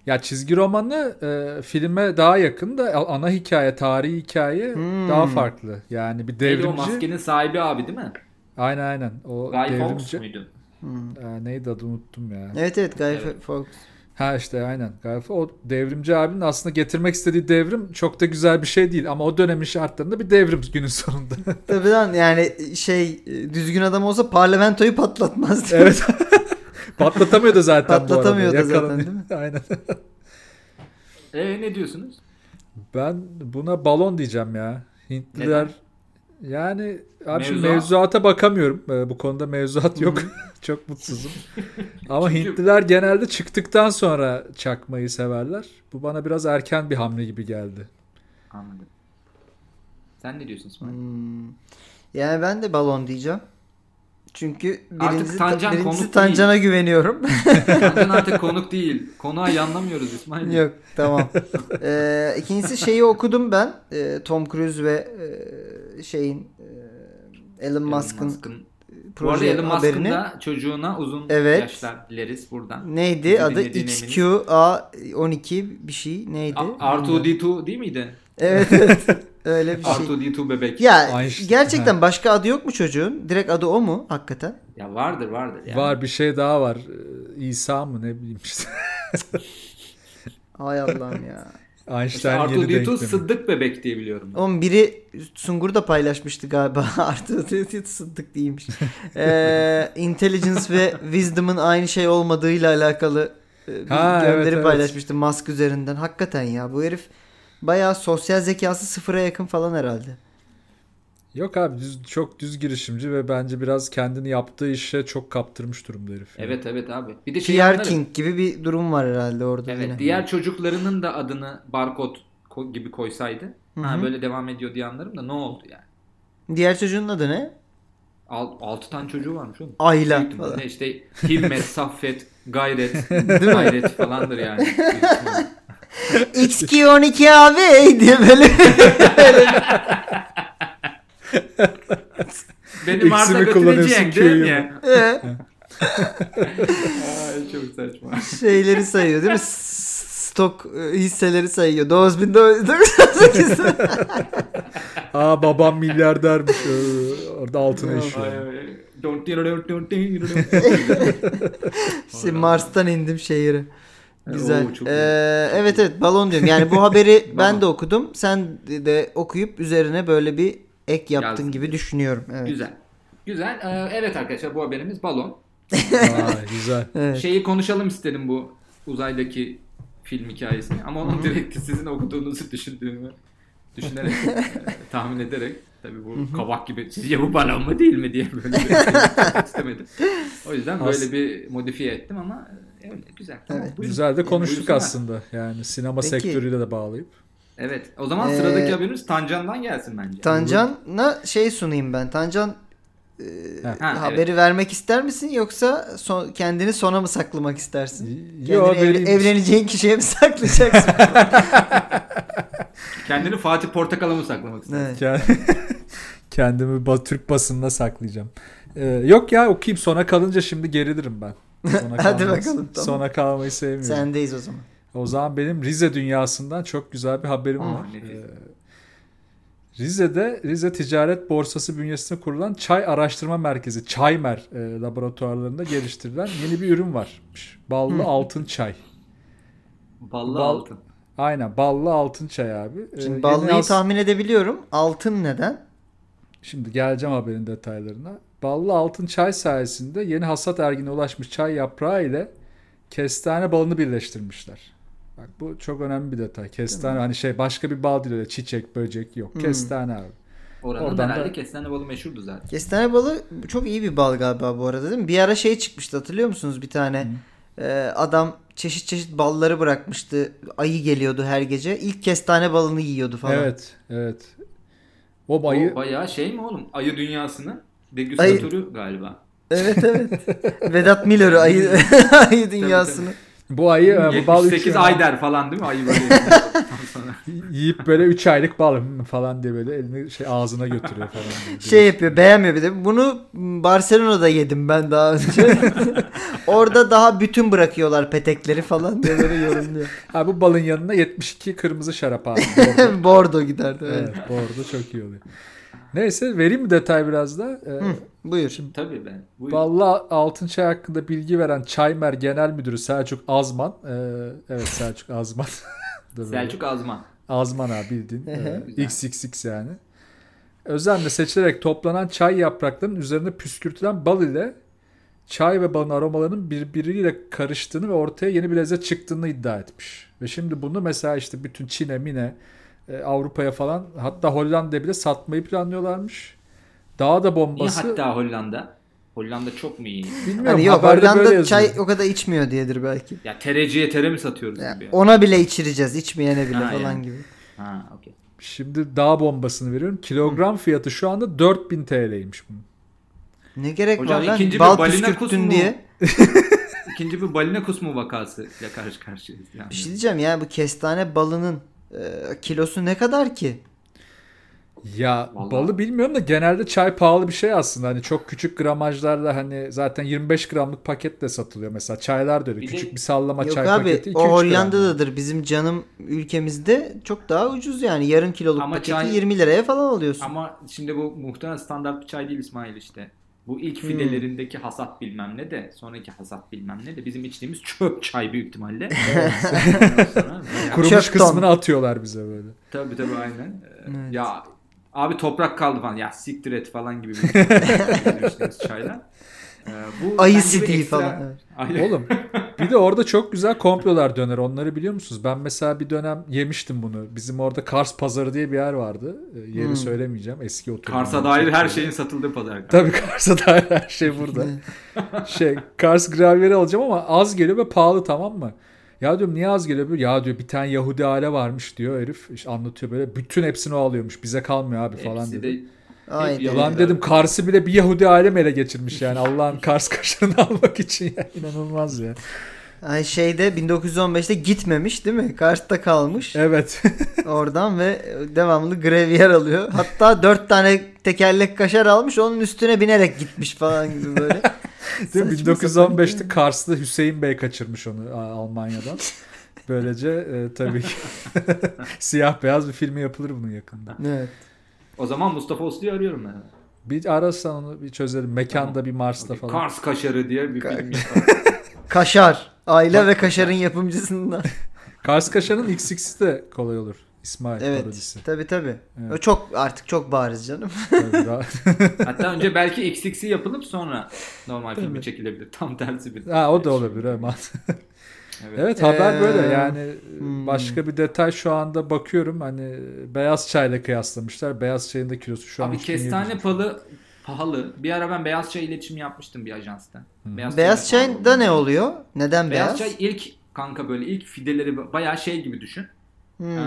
[SPEAKER 2] Ya çizgi romanı e, filme daha yakın da a- ana hikaye, tarihi hikaye
[SPEAKER 1] Hmm.
[SPEAKER 2] daha farklı. Yani bir
[SPEAKER 3] Devrimci. o
[SPEAKER 2] devrimci.
[SPEAKER 3] maskenin sahibi abi değil mi?
[SPEAKER 2] Aynen aynen. O
[SPEAKER 3] Guy Fawkes
[SPEAKER 2] devrimci.
[SPEAKER 3] muydu?
[SPEAKER 1] Hmm.
[SPEAKER 2] E, neydi adı unuttum ya.
[SPEAKER 1] Evet evet Guy
[SPEAKER 3] Evet.
[SPEAKER 1] Fawkes.
[SPEAKER 2] Ha işte aynen. Galiba o devrimci abinin aslında getirmek istediği devrim çok da güzel bir şey değil. Ama o dönemin şartlarında bir devrim günün sonunda.
[SPEAKER 1] Tabii lan yani şey düzgün adam olsa parlamentoyu patlatmaz. diyor.
[SPEAKER 2] evet. Patlatamıyordu zaten
[SPEAKER 1] Patlatamıyordu
[SPEAKER 2] bu arada. Yakalanıyor.
[SPEAKER 1] zaten, değil mi?
[SPEAKER 2] aynen.
[SPEAKER 3] Eee E, ne diyorsunuz?
[SPEAKER 2] Ben buna balon diyeceğim ya. Hintliler yani abi şimdi
[SPEAKER 3] Mevzuat.
[SPEAKER 2] mevzuata bakamıyorum. Ee, bu konuda mevzuat yok. Çok mutsuzum. Ama
[SPEAKER 3] Çünkü-
[SPEAKER 2] Hintliler genelde çıktıktan sonra çakmayı severler. Bu bana biraz erken bir hamle gibi geldi.
[SPEAKER 3] Anladım. Sen ne diyorsun İsmail?
[SPEAKER 1] Hmm. Yani ben de balon diyeceğim. Çünkü
[SPEAKER 3] Artık
[SPEAKER 1] birincisi,
[SPEAKER 3] Tancan
[SPEAKER 1] birincisi
[SPEAKER 3] konuk
[SPEAKER 1] Tancan'a güveniyorum.
[SPEAKER 3] Tancan artık konuk değil. Konuğa yanlamıyoruz İsmail.
[SPEAKER 1] Yok tamam. ee, ikincisi şeyi okudum ben. Ee, Tom Cruise ve e, şeyin e, Elon
[SPEAKER 3] Elon
[SPEAKER 1] Musk'ın
[SPEAKER 3] Musk'ın. Bu arada
[SPEAKER 1] proje
[SPEAKER 3] Elon Musk'ın
[SPEAKER 1] haberini.
[SPEAKER 3] da çocuğuna uzun
[SPEAKER 1] Evet.
[SPEAKER 3] yaşlar dileriz buradan.
[SPEAKER 1] Neydi
[SPEAKER 3] Bizi
[SPEAKER 1] adı?
[SPEAKER 3] dinlediğine eminim.
[SPEAKER 1] XQA12 bir şey neydi?
[SPEAKER 3] A- R2D2 değil miydi?
[SPEAKER 1] Evet evet. Öyle bir şey.
[SPEAKER 3] R2D2 bebek. Ya,
[SPEAKER 1] Ya
[SPEAKER 2] Einstein.
[SPEAKER 1] gerçekten başka adı yok mu çocuğun? Direkt adı o mu hakikaten?
[SPEAKER 3] vardır vardır yani.
[SPEAKER 2] Var bir şey daha var. Ee, İsa mı ne bileyim işte.
[SPEAKER 1] Hay Allah'ım ya.
[SPEAKER 3] İşte
[SPEAKER 2] Einstein yeni
[SPEAKER 3] R2D2
[SPEAKER 2] denklemi.
[SPEAKER 3] Sıddık bebek diye biliyorum. ben.
[SPEAKER 1] Oğlum biri Sungur da paylaşmıştı galiba. Artı Sıddık değilmiş. Ee, intelligence ve Wisdom'ın aynı şey olmadığıyla alakalı e, bir
[SPEAKER 2] Ha, evet,
[SPEAKER 1] gönderi
[SPEAKER 2] evet.
[SPEAKER 1] paylaşmıştı mask üzerinden. Hakikaten ya bu herif bayağı sosyal zekası sıfıra yakın falan herhalde.
[SPEAKER 2] Yok abi düz, çok düz girişimci ve bence biraz kendini yaptığı işe çok kaptırmış durumda herif. yani.
[SPEAKER 3] Evet evet abi. Bir de şey
[SPEAKER 1] PR
[SPEAKER 3] anlarım.
[SPEAKER 1] King gibi bir durum var herhalde orada
[SPEAKER 3] Evet,
[SPEAKER 1] yine.
[SPEAKER 3] diğer çocuklarının da adını barkod ko- gibi koysaydı.
[SPEAKER 1] Hı
[SPEAKER 3] Ha
[SPEAKER 1] hı.
[SPEAKER 3] böyle devam ediyor diye anlarım da ne oldu yani?
[SPEAKER 1] Diğer çocuğun adı ne?
[SPEAKER 3] Al, altı tane çocuğu varmış oğlum.
[SPEAKER 1] Ayla
[SPEAKER 3] Büyük
[SPEAKER 1] falan.
[SPEAKER 3] ihtimalle işte himmet, saffet, gayret, gayret falandır yani. Büyük ihtimalle.
[SPEAKER 1] XG12 abi diye böyle.
[SPEAKER 3] Beni
[SPEAKER 2] İkisini
[SPEAKER 3] Mars'a
[SPEAKER 2] kullanıyorsun,
[SPEAKER 3] götüreceksin değil
[SPEAKER 2] Q'yu.
[SPEAKER 3] mi?
[SPEAKER 1] Ee,
[SPEAKER 3] Ay, çok saçma.
[SPEAKER 1] şeyleri sayıyor değil mi? S- Stok e, hisseleri sayıyor. 9998.
[SPEAKER 2] Aa babam milyardermiş. Ee, Orada altına
[SPEAKER 3] Ay,
[SPEAKER 2] işiyor.
[SPEAKER 3] ay. Don't you know, don't you know.
[SPEAKER 1] Şimdi Mars'tan indim şehire. Güzel.
[SPEAKER 3] Oo, çok
[SPEAKER 1] Ee,
[SPEAKER 3] iyi.
[SPEAKER 1] evet evet balon diyorum. Yani bu haberi ben
[SPEAKER 3] Balon.
[SPEAKER 1] de okudum. Sen de okuyup üzerine böyle bir ek yaptın
[SPEAKER 3] Yazdım.
[SPEAKER 1] gibi düşünüyorum. Evet.
[SPEAKER 3] Güzel. Güzel. Ee, evet arkadaşlar bu haberimiz balon.
[SPEAKER 2] Aa, güzel.
[SPEAKER 1] Evet.
[SPEAKER 3] Şeyi konuşalım istedim bu uzaydaki film hikayesini. Ama onun direkt sizin okuduğunuzu düşündüğümü düşünerek, e, tahmin ederek. Tabii bu kabak gibi sizce bu balon mu değil mi diye böyle bir şey istemedim. O yüzden böyle
[SPEAKER 2] Aslında-
[SPEAKER 3] bir modifiye ettim ama e, öyle güzel. Tamam, buyurun.
[SPEAKER 2] Güzel de
[SPEAKER 3] Yani
[SPEAKER 2] konuştuk
[SPEAKER 3] buyursunlar.
[SPEAKER 2] aslında. Yani sinema
[SPEAKER 1] Peki.
[SPEAKER 2] sektörüyle de bağlayıp.
[SPEAKER 3] Evet. O zaman
[SPEAKER 1] Ee,
[SPEAKER 3] sıradaki haberimiz Tancan'dan gelsin bence.
[SPEAKER 1] Tancan'a şey sunayım ben. Tancan e,
[SPEAKER 3] Ha, evet.
[SPEAKER 1] haberi vermek ister misin yoksa son- kendini sona mı saklamak istersin? Kendini
[SPEAKER 2] Yo,
[SPEAKER 1] evle-
[SPEAKER 2] vereyim.
[SPEAKER 1] evleneceğin kişiye mi saklayacaksın?
[SPEAKER 3] Kendini Fatih Portakal'a mı saklamak istiyorsun?
[SPEAKER 1] Evet.
[SPEAKER 2] Kend- Kendimi ba- Türk basınına saklayacağım. Ee, yok ya okuyayım sona kalınca şimdi gerilirim ben. Sona
[SPEAKER 1] Hadi
[SPEAKER 2] kalmaz-
[SPEAKER 1] bakalım, tamam.
[SPEAKER 2] Sona kalmayı sevmiyorum.
[SPEAKER 1] Sendeyiz o zaman.
[SPEAKER 2] O zaman benim Rize dünyasından çok güzel bir haberim
[SPEAKER 1] Ah,
[SPEAKER 2] var.
[SPEAKER 3] nefis.
[SPEAKER 2] Ee, Rize'de Rize Ticaret Borsası bünyesinde kurulan Çay Araştırma Merkezi Çaymer e, laboratuvarlarında geliştirilen yeni bir ürün var. Ballı altın çay.
[SPEAKER 3] Ballı
[SPEAKER 2] Bal-
[SPEAKER 3] altın.
[SPEAKER 2] Aynen ballı altın çay abi. Ee,
[SPEAKER 1] Şimdi
[SPEAKER 2] yeni
[SPEAKER 1] ballıyı
[SPEAKER 2] as-
[SPEAKER 1] tahmin edebiliyorum. Altın neden?
[SPEAKER 2] Şimdi geleceğim haberin detaylarına. Ballı altın çay sayesinde yeni hasat ergine ulaşmış çay yaprağı ile kestane balını birleştirmişler. Bak bu çok önemli bir detay. Kestane hani şey başka bir bal değil öyle çiçek böcek yok. Kestane abi.
[SPEAKER 3] Oranın
[SPEAKER 2] Oradan
[SPEAKER 3] herhalde
[SPEAKER 2] da-
[SPEAKER 3] kestane balı meşhurdu zaten.
[SPEAKER 1] Kestane balı çok iyi bir bal galiba bu arada değil mi? Bir ara şey çıkmıştı hatırlıyor musunuz bir tane? Ee, adam çeşit çeşit balları bırakmıştı. Ayı geliyordu her gece. İlk kestane balını yiyordu falan.
[SPEAKER 2] Evet evet. O
[SPEAKER 3] O
[SPEAKER 2] bayı
[SPEAKER 3] bayağı şey mi oğlum? Ayı dünyasının
[SPEAKER 1] Ayı-
[SPEAKER 3] degüstatörü galiba.
[SPEAKER 1] Evet evet. Vedat Milor'u ayı, ayı dünyasını.
[SPEAKER 2] bu ayı e, bu bal
[SPEAKER 3] 78
[SPEAKER 2] üç-
[SPEAKER 3] Ayder falan değil mi? Ayı böyle. Sonra
[SPEAKER 2] yiyip böyle 3 aylık bal hmm, falan diye böyle elini şey ağzına götürüyor falan. diye.
[SPEAKER 1] Şey yapıyor beğenmiyor bir de. Bunu Barcelona'da yedim ben daha önce. Orada daha bütün bırakıyorlar petekleri falan diye böyle yorumluyor.
[SPEAKER 2] Ha bu balın yanına 72 kırmızı şarap abi. Bordo.
[SPEAKER 1] Bordo giderdi. Evet.
[SPEAKER 2] evet, bordo çok iyi oluyor. Neyse vereyim mi detay biraz da? Ee,
[SPEAKER 1] Hı, buyur.
[SPEAKER 3] Tabii ben. Buyurun.
[SPEAKER 2] Ballı altın çay hakkında bilgi veren Çaymer Genel Müdürü Selçuk Azman. ee, evet Selçuk Azman. Dur bakayım.
[SPEAKER 3] Selçuk Azman.
[SPEAKER 2] Azman abi bildiğin. e,
[SPEAKER 3] Güzel.
[SPEAKER 2] XXX yani. Özenle seçilerek toplanan çay yapraklarının üzerine püskürtülen bal ile çay ve balın aromalarının birbiriyle karıştığını ve ortaya yeni bir lezzet çıktığını iddia etmiş. Ve şimdi bunu mesela işte bütün Çin'e, Mine, e, Avrupa'ya falan hatta Hollanda'ya bile satmayı planlıyorlarmış. Daha da
[SPEAKER 3] Niye
[SPEAKER 2] bombası.
[SPEAKER 3] hatta Hollanda? Hollanda çok mu iyi?
[SPEAKER 2] Bilmiyorum
[SPEAKER 1] Hani yok
[SPEAKER 2] haberde böyle
[SPEAKER 1] Hollanda
[SPEAKER 2] yazıyor.
[SPEAKER 1] çay o kadar içmiyor diyedir belki.
[SPEAKER 3] Ya tereciye tere mi satıyoruz
[SPEAKER 1] Ya,
[SPEAKER 3] gibi ya?
[SPEAKER 1] ona bile içireceğiz. içmeyene bile
[SPEAKER 3] Ha,
[SPEAKER 1] falan
[SPEAKER 3] yani.
[SPEAKER 1] gibi.
[SPEAKER 3] Ha okey.
[SPEAKER 2] Şimdi daha bombasını veriyorum. Kilogram fiyatı şu anda 4000 TL'ymiş bunun.
[SPEAKER 1] Ne gerek
[SPEAKER 3] Hocam
[SPEAKER 1] var lan?
[SPEAKER 3] ikinci bir
[SPEAKER 1] Bal
[SPEAKER 3] balina
[SPEAKER 1] püskürttün
[SPEAKER 3] kusmu.
[SPEAKER 1] diye.
[SPEAKER 3] İkinci bir balina kusmu vakasıyla karşı karşıyayız. Yani.
[SPEAKER 1] Bir şey diyeceğim ya bu kestane balının e, kilosu ne kadar ki?
[SPEAKER 2] Ya
[SPEAKER 3] Vallahi.
[SPEAKER 2] balı bilmiyorum da genelde çay pahalı bir şey aslında. Hani çok küçük gramajlarla hani zaten 25 gramlık paket de satılıyor mesela. Çaylar da öyle.
[SPEAKER 3] Bir de-
[SPEAKER 2] küçük bir sallama
[SPEAKER 1] yok
[SPEAKER 2] çay
[SPEAKER 1] abi
[SPEAKER 2] paketi 2-3
[SPEAKER 1] o
[SPEAKER 2] gram.
[SPEAKER 1] Hollanda'dadır. Bizim canım ülkemizde çok daha ucuz yani. Yarım kiloluk
[SPEAKER 3] Ama
[SPEAKER 1] paketi
[SPEAKER 3] çay-
[SPEAKER 1] 20 liraya falan alıyorsun.
[SPEAKER 3] Ama şimdi bu muhtemelen standart bir çay değil İsmail işte. Bu ilk
[SPEAKER 1] Hmm.
[SPEAKER 3] fidelerindeki hasat bilmem ne de sonraki hasat bilmem ne de bizim içtiğimiz çöp çay büyük ihtimalle. Ondan sonra bayağı-
[SPEAKER 2] Kurumuş
[SPEAKER 1] Çöp ton.
[SPEAKER 2] kısmını atıyorlar bize böyle.
[SPEAKER 3] Tabii tabii aynen. Ee,
[SPEAKER 1] Evet.
[SPEAKER 3] Ya abi toprak kaldı falan. Ya siktir et falan gibi bir Görüştüğümüz çayla. Ee, bu
[SPEAKER 1] Ayı
[SPEAKER 3] bence bir
[SPEAKER 1] sidiği
[SPEAKER 3] ekstra-
[SPEAKER 1] falan. Evet.
[SPEAKER 3] Aynen.
[SPEAKER 2] Oğlum Bir de orada çok güzel komplolar döner. Onları biliyor musunuz? Ben mesela bir dönem yemiştim bunu. Bizim orada Kars Pazarı diye bir yer vardı. E, Yeri
[SPEAKER 1] Hmm.
[SPEAKER 2] söylemeyeceğim. Eski oturma.
[SPEAKER 3] Kars'a dair her şey- şeyin satıldığı pazar.
[SPEAKER 2] Tabii Kars'a dair her şey burada. şey Kars gravyeri alacağım ama az geliyor ve pahalı tamam mı? Ya diyorum niye az geliyor? Böyle, Ya diyor bir tane Yahudi aile varmış diyor herif. İşte anlatıyor böyle. Bütün hepsini o alıyormuş. Bize kalmıyor abi falan
[SPEAKER 3] Hepsi
[SPEAKER 2] dedi.
[SPEAKER 3] de
[SPEAKER 1] Aynen.
[SPEAKER 3] yalan
[SPEAKER 2] Lan dedim Kars'ı bile bir Yahudi ailem ele geçirmiş yani Allah'ın Kars kaşarını almak için ya inanılmaz ya.
[SPEAKER 1] Ay şeyde 1915'te gitmemiş değil mi? Kars'ta kalmış
[SPEAKER 2] Evet.
[SPEAKER 1] oradan ve devamlı gravyer alıyor. Hatta dört tane tekerlek kaşar almış onun üstüne binerek gitmiş falan gibi böyle.
[SPEAKER 2] Değil mi?
[SPEAKER 1] Saçma
[SPEAKER 2] 1915'te Kars'ta Hüseyin Bey kaçırmış onu A- Almanya'dan. Böylece e, tabii ki siyah beyaz bir filmi yapılır bunun yakında.
[SPEAKER 1] sapan. Evet.
[SPEAKER 3] O zaman Mustafa Oslu'yu arıyorum ben.
[SPEAKER 2] Bir arasan onu bir çözelim. Mekanda bir Mars'ta falan.
[SPEAKER 3] Kars Kaşarı diye bir film
[SPEAKER 1] Kaşar. Ayla ve Kaşar'ın yapımcısından.
[SPEAKER 2] Kars Kaşar'ın XX'i de kolay olur. İsmail
[SPEAKER 1] Evet.
[SPEAKER 2] parodisi.
[SPEAKER 1] Tabi tabi.
[SPEAKER 2] Evet.
[SPEAKER 1] O çok artık çok bariz canım.
[SPEAKER 2] Tabii daha-
[SPEAKER 3] Hatta önce belki XX'i yapılıp sonra normal filmi çekilebilir. Tam tersi bir.
[SPEAKER 2] ha, o da olabilir. Ama.
[SPEAKER 3] Evet.
[SPEAKER 2] Evet haber
[SPEAKER 1] Ee,
[SPEAKER 2] böyle yani
[SPEAKER 1] hmm.
[SPEAKER 2] başka bir detay şu anda bakıyorum hani beyaz çayla kıyaslamışlar. Beyaz çayın da kilosu şu an
[SPEAKER 3] Abi
[SPEAKER 2] 3700.
[SPEAKER 3] kestane palı pahalı. Bir ara ben beyaz çay iletişim yapmıştım bir ajansta. Beyaz,
[SPEAKER 1] Beyaz
[SPEAKER 3] çay da
[SPEAKER 1] çay da ne oluyor? Neden beyaz?
[SPEAKER 3] Beyaz, çay ilk kanka böyle ilk fideleri bayağı şey gibi düşün.
[SPEAKER 1] Hmm.
[SPEAKER 3] Ee,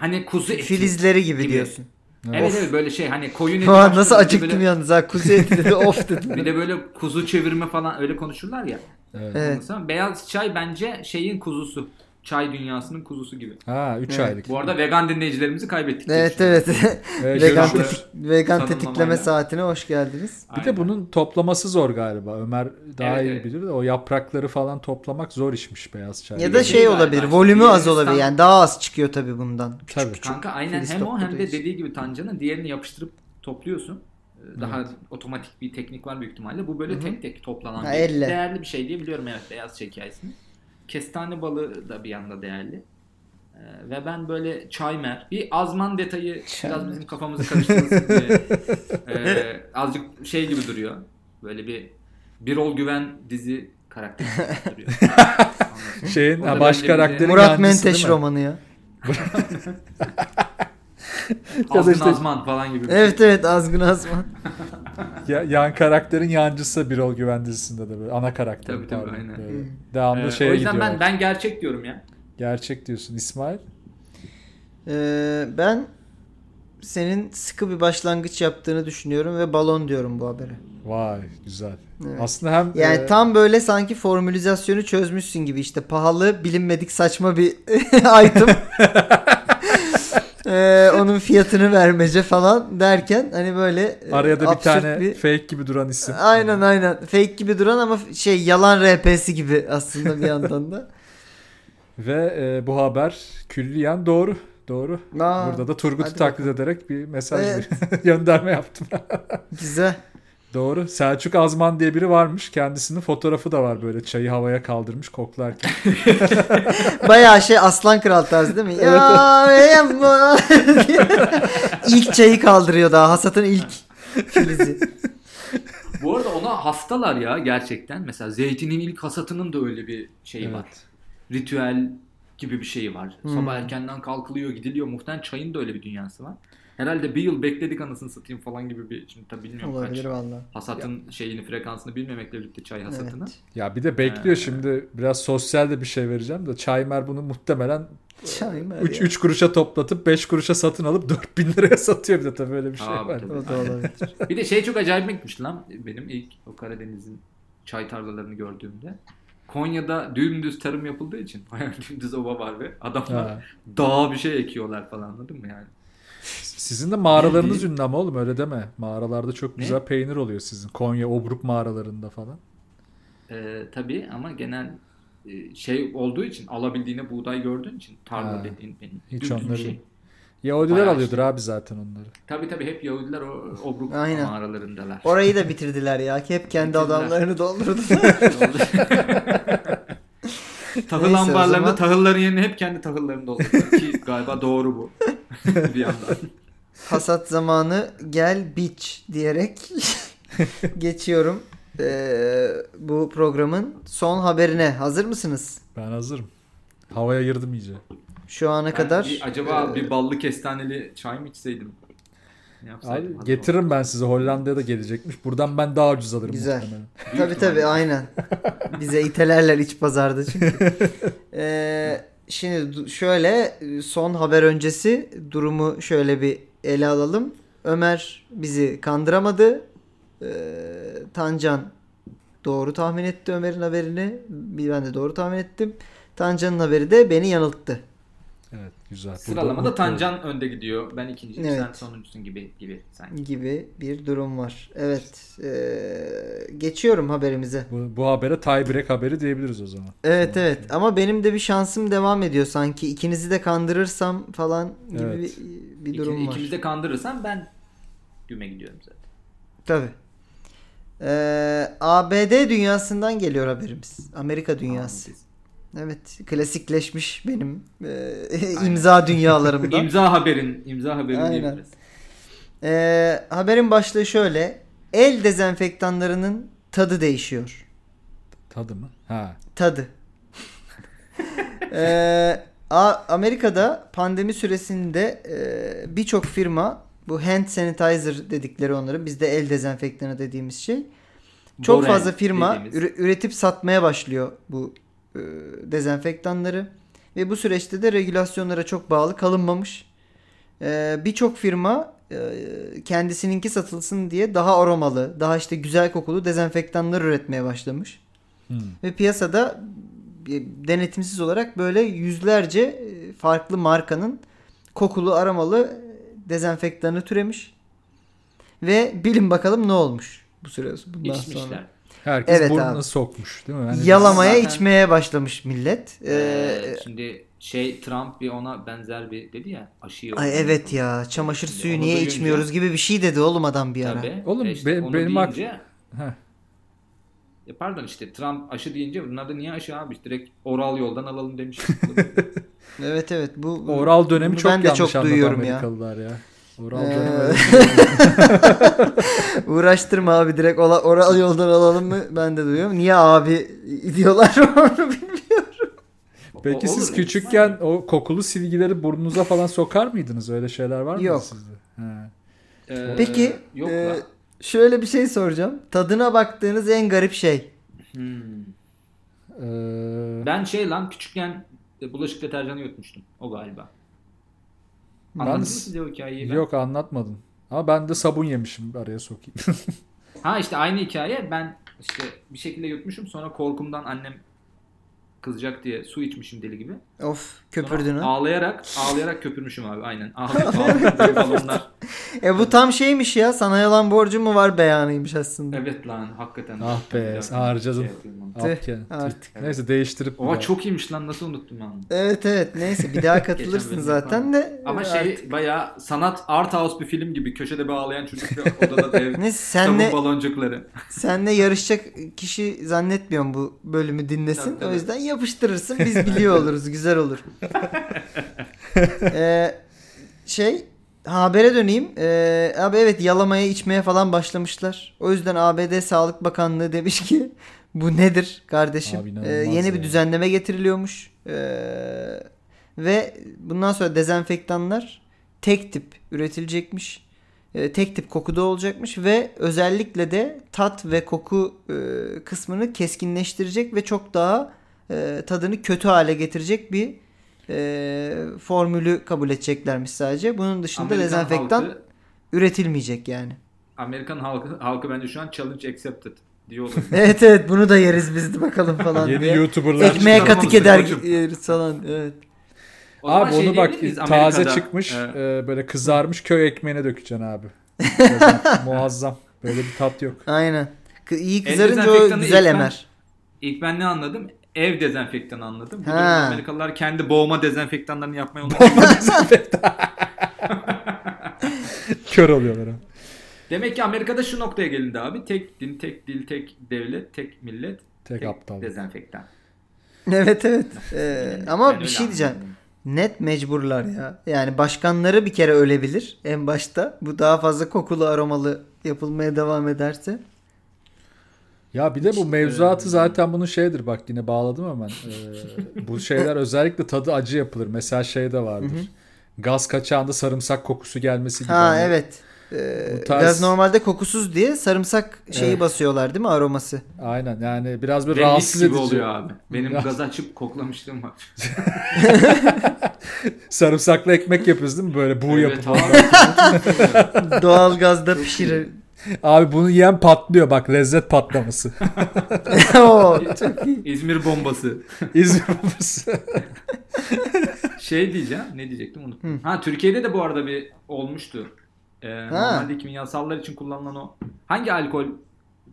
[SPEAKER 3] hani kuzu eti.
[SPEAKER 1] Filizleri gibi,
[SPEAKER 3] gibi.
[SPEAKER 1] diyorsun.
[SPEAKER 3] Evet
[SPEAKER 2] Of.
[SPEAKER 3] evet böyle şey hani koyun eti.
[SPEAKER 1] Ulan
[SPEAKER 3] var,
[SPEAKER 1] nasıl
[SPEAKER 3] bir de
[SPEAKER 1] acıktım
[SPEAKER 3] böyle-
[SPEAKER 1] yalnız ha. Kuzu eti dedi of
[SPEAKER 3] Bir
[SPEAKER 1] dedim.
[SPEAKER 3] de böyle kuzu çevirme falan öyle konuşurlar ya.
[SPEAKER 2] Evet.
[SPEAKER 1] Evet.
[SPEAKER 3] Anlasana. Beyaz çay bence şeyin kuzusu. Çay dünyasının kuzusu gibi.
[SPEAKER 2] Ha 3
[SPEAKER 1] Evet.
[SPEAKER 2] aylık. Ee,
[SPEAKER 3] Bu arada vegan dinleyicilerimizi kaybettik. diye
[SPEAKER 1] Evet
[SPEAKER 3] düşünüyorum.
[SPEAKER 1] evet.
[SPEAKER 2] Evet,
[SPEAKER 1] vegan
[SPEAKER 2] şöyle-
[SPEAKER 3] şöyle-
[SPEAKER 1] tetik- vegan
[SPEAKER 3] Sanırım
[SPEAKER 1] tetikleme
[SPEAKER 3] aynen.
[SPEAKER 1] saatine hoş geldiniz.
[SPEAKER 2] Bir de
[SPEAKER 3] Aynen.
[SPEAKER 2] bunun toplaması zor galiba. Ömer daha
[SPEAKER 3] Evet,
[SPEAKER 2] iyi
[SPEAKER 3] evet.
[SPEAKER 2] bilir de o yaprakları falan toplamak zor işmiş beyaz çay.
[SPEAKER 1] Ya
[SPEAKER 3] de
[SPEAKER 1] da
[SPEAKER 3] şey
[SPEAKER 1] şey
[SPEAKER 3] galiba,
[SPEAKER 1] olabilir.
[SPEAKER 3] işte
[SPEAKER 1] Volümü az
[SPEAKER 3] Yunanistan-
[SPEAKER 1] olabilir. Yani daha az çıkıyor tabii bundan. Küçük
[SPEAKER 2] Tabii.
[SPEAKER 1] küçük.
[SPEAKER 3] Kanka aynen
[SPEAKER 1] filiz
[SPEAKER 3] hem o hem de
[SPEAKER 1] topladığı
[SPEAKER 3] dediği gibi Tancan'ın diğerini yapıştırıp topluyorsun. Ee, Daha otomatik bir teknik var büyük ihtimalle. Bu böyle
[SPEAKER 2] Hı hı.
[SPEAKER 3] tek tek toplanan
[SPEAKER 1] Ha,
[SPEAKER 3] bir
[SPEAKER 1] elle.
[SPEAKER 3] değerli bir şey diye biliyorum evet beyaz çay hikayesini. Kestane balığı da bir yanda değerli. Ee, Ve ben böyle çaymer, bir azman detayı biraz
[SPEAKER 1] Çaymer.
[SPEAKER 3] bizim kafamızı karıştırmasın diye ee, azıcık şey gibi duruyor. Böyle bir Birol Güven dizi karakteri gibi duruyor. Anlasın.
[SPEAKER 2] Şeyin
[SPEAKER 3] O da
[SPEAKER 2] ha, baş
[SPEAKER 3] bence bir şey- de-
[SPEAKER 2] karakterin
[SPEAKER 1] Murat
[SPEAKER 2] yancısı değil
[SPEAKER 1] Menteş
[SPEAKER 2] mi?
[SPEAKER 1] romanı ya.
[SPEAKER 2] da
[SPEAKER 3] Azgın
[SPEAKER 2] işte-
[SPEAKER 3] Azman falan gibi. bir şey.
[SPEAKER 1] Evet evet Azgın Azman.
[SPEAKER 2] Ya, yan karakterin yancısı Birol Güven dizisinde de böyle ana karakter.
[SPEAKER 3] Tabii, tabii,
[SPEAKER 2] pardon.
[SPEAKER 3] aynen.
[SPEAKER 2] Böyle.
[SPEAKER 1] Hı.
[SPEAKER 2] Devamlı
[SPEAKER 3] Ee,
[SPEAKER 2] şeye
[SPEAKER 3] o yüzden
[SPEAKER 2] gidiyor.
[SPEAKER 3] ben, ben gerçek diyorum ya.
[SPEAKER 2] Gerçek diyorsun İsmail.
[SPEAKER 1] Ee, ben senin sıkı bir başlangıç yaptığını düşünüyorum ve balon diyorum bu habere.
[SPEAKER 2] Vay güzel.
[SPEAKER 1] Evet.
[SPEAKER 2] Aslında hem
[SPEAKER 1] Yani
[SPEAKER 2] e,
[SPEAKER 1] tam böyle sanki formülizasyonu çözmüşsün gibi işte pahalı bilinmedik saçma bir item. Ee, onun fiyatını vermece falan derken hani böyle e,
[SPEAKER 2] Araya da bir
[SPEAKER 1] absürt
[SPEAKER 2] tane
[SPEAKER 1] bir-
[SPEAKER 2] fake gibi duran isim.
[SPEAKER 1] Aynen aynen. Fake gibi duran ama şey yalan RP'si gibi aslında bir yandan da.
[SPEAKER 2] Ve e, bu haber külliyen doğru. Doğru.
[SPEAKER 1] Aa,
[SPEAKER 2] Burada da Turgut'u
[SPEAKER 1] hadi
[SPEAKER 2] taklit ederek bir mesaj
[SPEAKER 1] Evet.
[SPEAKER 2] bir gönderme yaptım.
[SPEAKER 1] Güzel.
[SPEAKER 2] doğru. Selçuk Azman diye biri varmış. Kendisinin fotoğrafı da var böyle çayı havaya kaldırmış koklarken.
[SPEAKER 1] Bayağı şey Aslan Kral tarzı değil mi? ya yapma. ilk çayı kaldırıyor daha. Hasat'ın ilk filizi.
[SPEAKER 3] Bu arada ona hastalar ya gerçekten. Mesela zeytinin ilk hasatının da öyle bir şeyi
[SPEAKER 2] Evet.
[SPEAKER 3] var. Ritüel gibi bir şeyi var.
[SPEAKER 1] Hmm.
[SPEAKER 3] Sabah erkenden kalkılıyor, gidiliyor. Muhtemelen çayın da öyle bir dünyası var. Herhalde bir yıl bekledik anasını satayım falan gibi bir... Şimdi tabii bilmiyorum
[SPEAKER 1] Olabilir
[SPEAKER 3] kaç.
[SPEAKER 1] valla.
[SPEAKER 3] Hasatın şeyini, frekansını bilmemekle birlikte çay hasatını.
[SPEAKER 1] Evet.
[SPEAKER 2] ya bir de bekliyor şimdi biraz sosyal de bir şey vereceğim de Çaymer bunu muhtemelen
[SPEAKER 1] Çay mı?
[SPEAKER 2] 3
[SPEAKER 1] ya?
[SPEAKER 2] 3 kuruşa toplatıp 5 kuruşa satın alıp 4000 liraya satıyor bir de tabii öyle bir şey
[SPEAKER 3] Aa,
[SPEAKER 2] var.
[SPEAKER 3] tabii.
[SPEAKER 1] O da olabilir.
[SPEAKER 3] Bir de şey çok acayip gitmiş lan benim ilk o Karadeniz'in çay tarlalarını gördüğümde. Konya'da dümdüz tarım yapıldığı için bayağı dümdüz ova var ve adamlar
[SPEAKER 2] Ha.
[SPEAKER 3] dağa bir şey ekiyorlar falan anladın mı yani?
[SPEAKER 2] Sizin de mağaralarınız
[SPEAKER 3] Bildiğin-
[SPEAKER 2] ünlü ama oğlum öyle deme. Mağaralarda çok
[SPEAKER 3] Ne?
[SPEAKER 2] güzel peynir oluyor sizin. Konya Obruk mağaralarında falan.
[SPEAKER 3] Ee, tabii ama genel e, şey olduğu için alabildiğine buğday gördüğün için tarla
[SPEAKER 2] Ha.
[SPEAKER 3] dediğin benim
[SPEAKER 2] Hiç
[SPEAKER 3] dümdüz bir
[SPEAKER 2] onları-
[SPEAKER 3] şey.
[SPEAKER 2] Yahudiler
[SPEAKER 3] Bayağı şey.
[SPEAKER 2] alıyordur abi zaten onları.
[SPEAKER 3] Tabii tabii hep Yahudiler o obruk
[SPEAKER 1] Aynen.
[SPEAKER 3] mağaralarındalar.
[SPEAKER 1] Orayı da bitirdiler ya. Hep kendi
[SPEAKER 3] Bitirdiler.
[SPEAKER 1] adamlarını doldurdular.
[SPEAKER 3] Şey tahıl
[SPEAKER 1] Neyse, o
[SPEAKER 3] ambarlarında
[SPEAKER 1] zaman-
[SPEAKER 3] tahılların yerine hep kendi tahıllarında oldu. Ki galiba doğru bu. bir yandan.
[SPEAKER 1] Hasat zamanı gel bitch diyerek geçiyorum Ee, bu programın son haberine hazır mısınız?
[SPEAKER 2] Ben hazırım. Havaya girdim iyice.
[SPEAKER 1] Şu ana kadar.
[SPEAKER 3] Bir, acaba
[SPEAKER 1] e,
[SPEAKER 3] bir ballı kestaneli çay mı içseydim? Ne yapsaydım?
[SPEAKER 2] Abi,
[SPEAKER 3] Hadi
[SPEAKER 2] getiririm ben size. Hollanda'ya da gelecekmiş. Buradan ben daha ucuz alırım.
[SPEAKER 1] Güzel.
[SPEAKER 2] muhtemelen.
[SPEAKER 3] bakalım.
[SPEAKER 1] Tabii
[SPEAKER 3] Büyük ihtimalle.
[SPEAKER 1] tabii aynen. Bize itelerler iç pazarda çünkü. Ee, şimdi du- şöyle son haber öncesi durumu şöyle bir ele alalım. Ömer bizi kandıramadı. Ee, Tancan doğru tahmin etti Ömer'in haberini. Bir- Ben de doğru tahmin ettim. Tancan'ın haberi de beni yanılttı.
[SPEAKER 2] Evet güzel.
[SPEAKER 3] Sıralamada
[SPEAKER 2] Burada-
[SPEAKER 3] Tancan önde gidiyor. Ben ikinci,
[SPEAKER 1] Evet.
[SPEAKER 3] sen sonuncusun gibi gibi sanki.
[SPEAKER 1] gibi bir durum var. Evet. ee, geçiyorum haberimize.
[SPEAKER 2] Bu, bu habere tiebreak haberi diyebiliriz o zaman.
[SPEAKER 1] Evet evet ama benim de bir şansım devam ediyor sanki ikinizi de kandırırsam falan gibi
[SPEAKER 2] Evet.
[SPEAKER 1] bir, bir
[SPEAKER 3] İki,
[SPEAKER 1] durum var.
[SPEAKER 3] ikimiz de kandırırsan ben güme gidiyorum zaten.
[SPEAKER 1] Tabii. Ee, ABD dünyasından geliyor haberimiz. Amerika dünyası.
[SPEAKER 3] Tamam,
[SPEAKER 1] Evet klasikleşmiş benim ee,
[SPEAKER 3] Aynen.
[SPEAKER 1] imza
[SPEAKER 3] biz-
[SPEAKER 1] dünyalarımda.
[SPEAKER 3] İmza haberin, imza haberin
[SPEAKER 1] Aynen.
[SPEAKER 3] diyebiliriz.
[SPEAKER 1] Ee, haberin başlığı şöyle. El dezenfektanlarının tadı değişiyor.
[SPEAKER 2] Tadı mı? Ha.
[SPEAKER 1] tadı. Ee, A- Amerika'da pandemi süresinde e, birçok firma bu hand sanitizer dedikleri onların bizde el dezenfektanı dediğimiz şey. Çok
[SPEAKER 3] Boren
[SPEAKER 1] fazla firma
[SPEAKER 3] dediğimiz.
[SPEAKER 1] üre- üretip satmaya başlıyor bu e, dezenfektanları ve bu süreçte de regülasyonlara çok bağlı kalınmamış. Ee, birçok firma e, kendisininki satılsın diye daha aromalı, daha işte güzel kokulu dezenfektanlar üretmeye başlamış.
[SPEAKER 2] Hmm.
[SPEAKER 1] Ve piyasada bir- denetimsiz olarak böyle yüzlerce e, farklı markanın kokulu aramalı e, dezenfektanı türemiş. Ve bilin bakalım ne olmuş bu süre bundan
[SPEAKER 3] Yetişmişler.
[SPEAKER 1] sonra.
[SPEAKER 2] Herkes
[SPEAKER 1] Evet
[SPEAKER 2] burnuna
[SPEAKER 1] abi.
[SPEAKER 2] sokmuş değil mi? Hani Yani
[SPEAKER 1] Yalamaya
[SPEAKER 3] Zaten-
[SPEAKER 1] içmeye başlamış millet. Ee,
[SPEAKER 3] Ee, şimdi şey Trump bir ona benzer bir dedi ya aşıyı.
[SPEAKER 1] ay evet ya çamaşır
[SPEAKER 3] Şimdi
[SPEAKER 1] suyu
[SPEAKER 3] onu
[SPEAKER 1] niye
[SPEAKER 3] duyunca-
[SPEAKER 1] içmiyoruz gibi bir şey dedi oğlum adam bir ara.
[SPEAKER 3] Tabii.
[SPEAKER 2] Oğlum,
[SPEAKER 3] E
[SPEAKER 2] be-
[SPEAKER 3] onu
[SPEAKER 2] benim ak-
[SPEAKER 3] deyince-
[SPEAKER 2] Heh.
[SPEAKER 3] E pardon işte Trump aşı deyince bunlar da niye aşı abi direkt oral yoldan alalım demiş.
[SPEAKER 1] Evet evet bu
[SPEAKER 2] Oral dönemi
[SPEAKER 1] bunu
[SPEAKER 2] çok
[SPEAKER 1] ben de
[SPEAKER 2] yanlış
[SPEAKER 1] çok
[SPEAKER 2] anladı
[SPEAKER 1] duyuyorum ya.
[SPEAKER 2] Amerikalılar ya. Oral
[SPEAKER 1] Ee,
[SPEAKER 2] dönemi.
[SPEAKER 1] Uğraştırma abi direkt ola- oral yoldan alalım mı? Ben de duyuyorum. Niye abi diyorlar onu bilmiyorum.
[SPEAKER 2] Peki
[SPEAKER 3] O-
[SPEAKER 2] siz
[SPEAKER 3] olur.
[SPEAKER 2] küçükken o kokulu silgileri burnunuza falan sokar mıydınız? Öyle şeyler var mıydı
[SPEAKER 1] Yok.
[SPEAKER 2] sizde? He.
[SPEAKER 3] Ee,
[SPEAKER 1] Peki,
[SPEAKER 3] yok
[SPEAKER 1] e,
[SPEAKER 3] la.
[SPEAKER 1] Şöyle bir şey soracağım. Tadına baktığınız en garip şey.
[SPEAKER 3] Hmm.
[SPEAKER 2] Ee,
[SPEAKER 3] Ben şey lan küçükken e, bulaşık deterjanı yutmuştum. O galiba.
[SPEAKER 2] Ben-
[SPEAKER 3] Anladın mı size o hikayeyi? ben?
[SPEAKER 2] Yok anlatmadın. Ama ben de sabun yemişim araya sokayım.
[SPEAKER 3] Ha işte aynı hikaye. Ben işte bir şekilde yutmuşum. Sonra korkumdan annem kızacak diye su içmişim deli gibi.
[SPEAKER 1] Of
[SPEAKER 3] Sonra
[SPEAKER 1] köpürdün ha.
[SPEAKER 3] Ağlayarak, ağlayarak köpürmüşüm abi aynen. Ağlayıp ağlayıp böyle balonlar.
[SPEAKER 1] E bu tam şeymiş ya. Sana yalan borcum mu var beyanıymış aslında.
[SPEAKER 3] Evet lan hakikaten.
[SPEAKER 2] Ah be,
[SPEAKER 3] Bir dakika,
[SPEAKER 2] harcadın. Ah
[SPEAKER 3] şey yapayım lan.
[SPEAKER 1] Tüh,
[SPEAKER 2] Al ya.
[SPEAKER 1] artık.
[SPEAKER 2] Neyse değiştirip. bir
[SPEAKER 3] Oha
[SPEAKER 2] daha.
[SPEAKER 3] çok iyiymiş lan nasıl unuttum ben onu.
[SPEAKER 1] Evet evet neyse bir daha katılırsın
[SPEAKER 3] bölüm
[SPEAKER 1] zaten
[SPEAKER 3] yapalım.
[SPEAKER 1] de.
[SPEAKER 3] Ama
[SPEAKER 1] e,
[SPEAKER 3] şey
[SPEAKER 1] artık-
[SPEAKER 3] bayağı sanat art house bir film gibi köşede bir ağlayan çocuk ve odada dev
[SPEAKER 1] Neyse
[SPEAKER 3] tavuk
[SPEAKER 1] senle,
[SPEAKER 3] baloncukları.
[SPEAKER 1] senle yarışacak kişi zannetmiyorum bu bölümü dinlesin.
[SPEAKER 3] Tabii,
[SPEAKER 1] O
[SPEAKER 3] tabii.
[SPEAKER 1] yüzden yapıştırırsın biz biliyor oluruz güzel olur. Ee, şey ha, habere döneyim. Ee, abi evet yalamaya içmeye falan başlamışlar. O yüzden ABD Sağlık Bakanlığı demiş ki bu nedir kardeşim?
[SPEAKER 2] Abi
[SPEAKER 1] Ee,
[SPEAKER 2] inanılmaz
[SPEAKER 1] yeni bir
[SPEAKER 2] ya.
[SPEAKER 1] düzenleme getiriliyormuş. Ee, ve bundan sonra dezenfektanlar tek tip üretilecekmiş. Ee, tek tip kokuda olacakmış ve özellikle de tat ve koku e, kısmını keskinleştirecek ve çok daha e, tadını kötü hale getirecek bir e, formülü kabul edeceklermiş sadece. Bunun dışında
[SPEAKER 3] Amerikan
[SPEAKER 1] dezenfektan
[SPEAKER 3] halkı-
[SPEAKER 1] üretilmeyecek yani.
[SPEAKER 3] Amerikan halkı, halkı bence şu an challenge accepted diyorlar.
[SPEAKER 1] Evet evet bunu da yeriz biz de bakalım falan
[SPEAKER 2] Yeni
[SPEAKER 1] diye.
[SPEAKER 2] YouTuber'lar.
[SPEAKER 1] Ekmeğe
[SPEAKER 3] çıkarmamız
[SPEAKER 1] katık eder
[SPEAKER 3] lazım.
[SPEAKER 1] yeriz falan. Evet.
[SPEAKER 3] O zaman
[SPEAKER 2] abi
[SPEAKER 3] şey
[SPEAKER 2] onu bak
[SPEAKER 3] diyebilir miyiz
[SPEAKER 2] taze
[SPEAKER 3] Amerika'da?
[SPEAKER 2] çıkmış
[SPEAKER 3] Ee,
[SPEAKER 2] e, böyle kızarmış köy ekmeğine dökeceksin abi. Muazzam, Muazzam. Böyle bir tat yok.
[SPEAKER 1] Aynen. Kı- İyi kızarınca o
[SPEAKER 3] dezenfektanı
[SPEAKER 1] güzel
[SPEAKER 3] ilk ben-
[SPEAKER 1] emer.
[SPEAKER 3] İlk ben ne anladım? Ev dezenfektanı anladım. Bu
[SPEAKER 1] Ha.
[SPEAKER 3] durumda Amerikalılar kendi boğma dezenfektanlarını yapmaya unutmuyor.
[SPEAKER 2] Kör oluyorlar. abi.
[SPEAKER 3] Demek ki Amerika'da şu noktaya gelindi abi. Tek din, tek dil, tek devlet, tek millet,
[SPEAKER 2] Tek aptal.
[SPEAKER 3] dezenfektan.
[SPEAKER 1] Evet evet. Ee,
[SPEAKER 3] Ben
[SPEAKER 1] ama bir
[SPEAKER 3] öyle
[SPEAKER 1] şey diyeceğim.
[SPEAKER 3] anladım.
[SPEAKER 1] Net mecburlar ya. Yani başkanları bir kere ölebilir en başta. Bu daha fazla kokulu aromalı yapılmaya devam ederse.
[SPEAKER 2] Ya bir de bu
[SPEAKER 3] e,
[SPEAKER 2] mevzuatı zaten bunun şeydir bak yine bağladım hemen. Ee, bu şeyler özellikle tadı acı yapılır. Mesela şey de vardır. Gaz kaçağında sarımsak kokusu gelmesi gibi.
[SPEAKER 1] Ha
[SPEAKER 2] Hani
[SPEAKER 1] evet. Ee,
[SPEAKER 2] Bu tarz-
[SPEAKER 1] Biraz normalde kokusuz diye sarımsak şeyi
[SPEAKER 2] Evet.
[SPEAKER 1] basıyorlar değil mi aroması?
[SPEAKER 2] Aynen yani biraz böyle
[SPEAKER 3] Ve mis
[SPEAKER 2] rahatsız
[SPEAKER 3] gibi
[SPEAKER 2] edici.
[SPEAKER 3] oluyor abi. Benim
[SPEAKER 2] Biraz-
[SPEAKER 3] gaz açıp koklamışlığım var.
[SPEAKER 2] Sarımsaklı ekmek yapıyoruz değil mi böyle bu
[SPEAKER 3] Evet
[SPEAKER 2] yapıp.
[SPEAKER 3] abi.
[SPEAKER 1] Doğal gazda pişirir.
[SPEAKER 2] Abi bunu yiyen patlıyor bak lezzet patlaması.
[SPEAKER 1] Oo,
[SPEAKER 3] İzmir bombası.
[SPEAKER 2] İzmir babası.
[SPEAKER 3] Şey diyeceğim. Ne diyecektim unuttum. Ha Türkiye'de de bu arada bir olmuştu. Ee, normalde kimyasallar için kullanılan o. Hangi alkol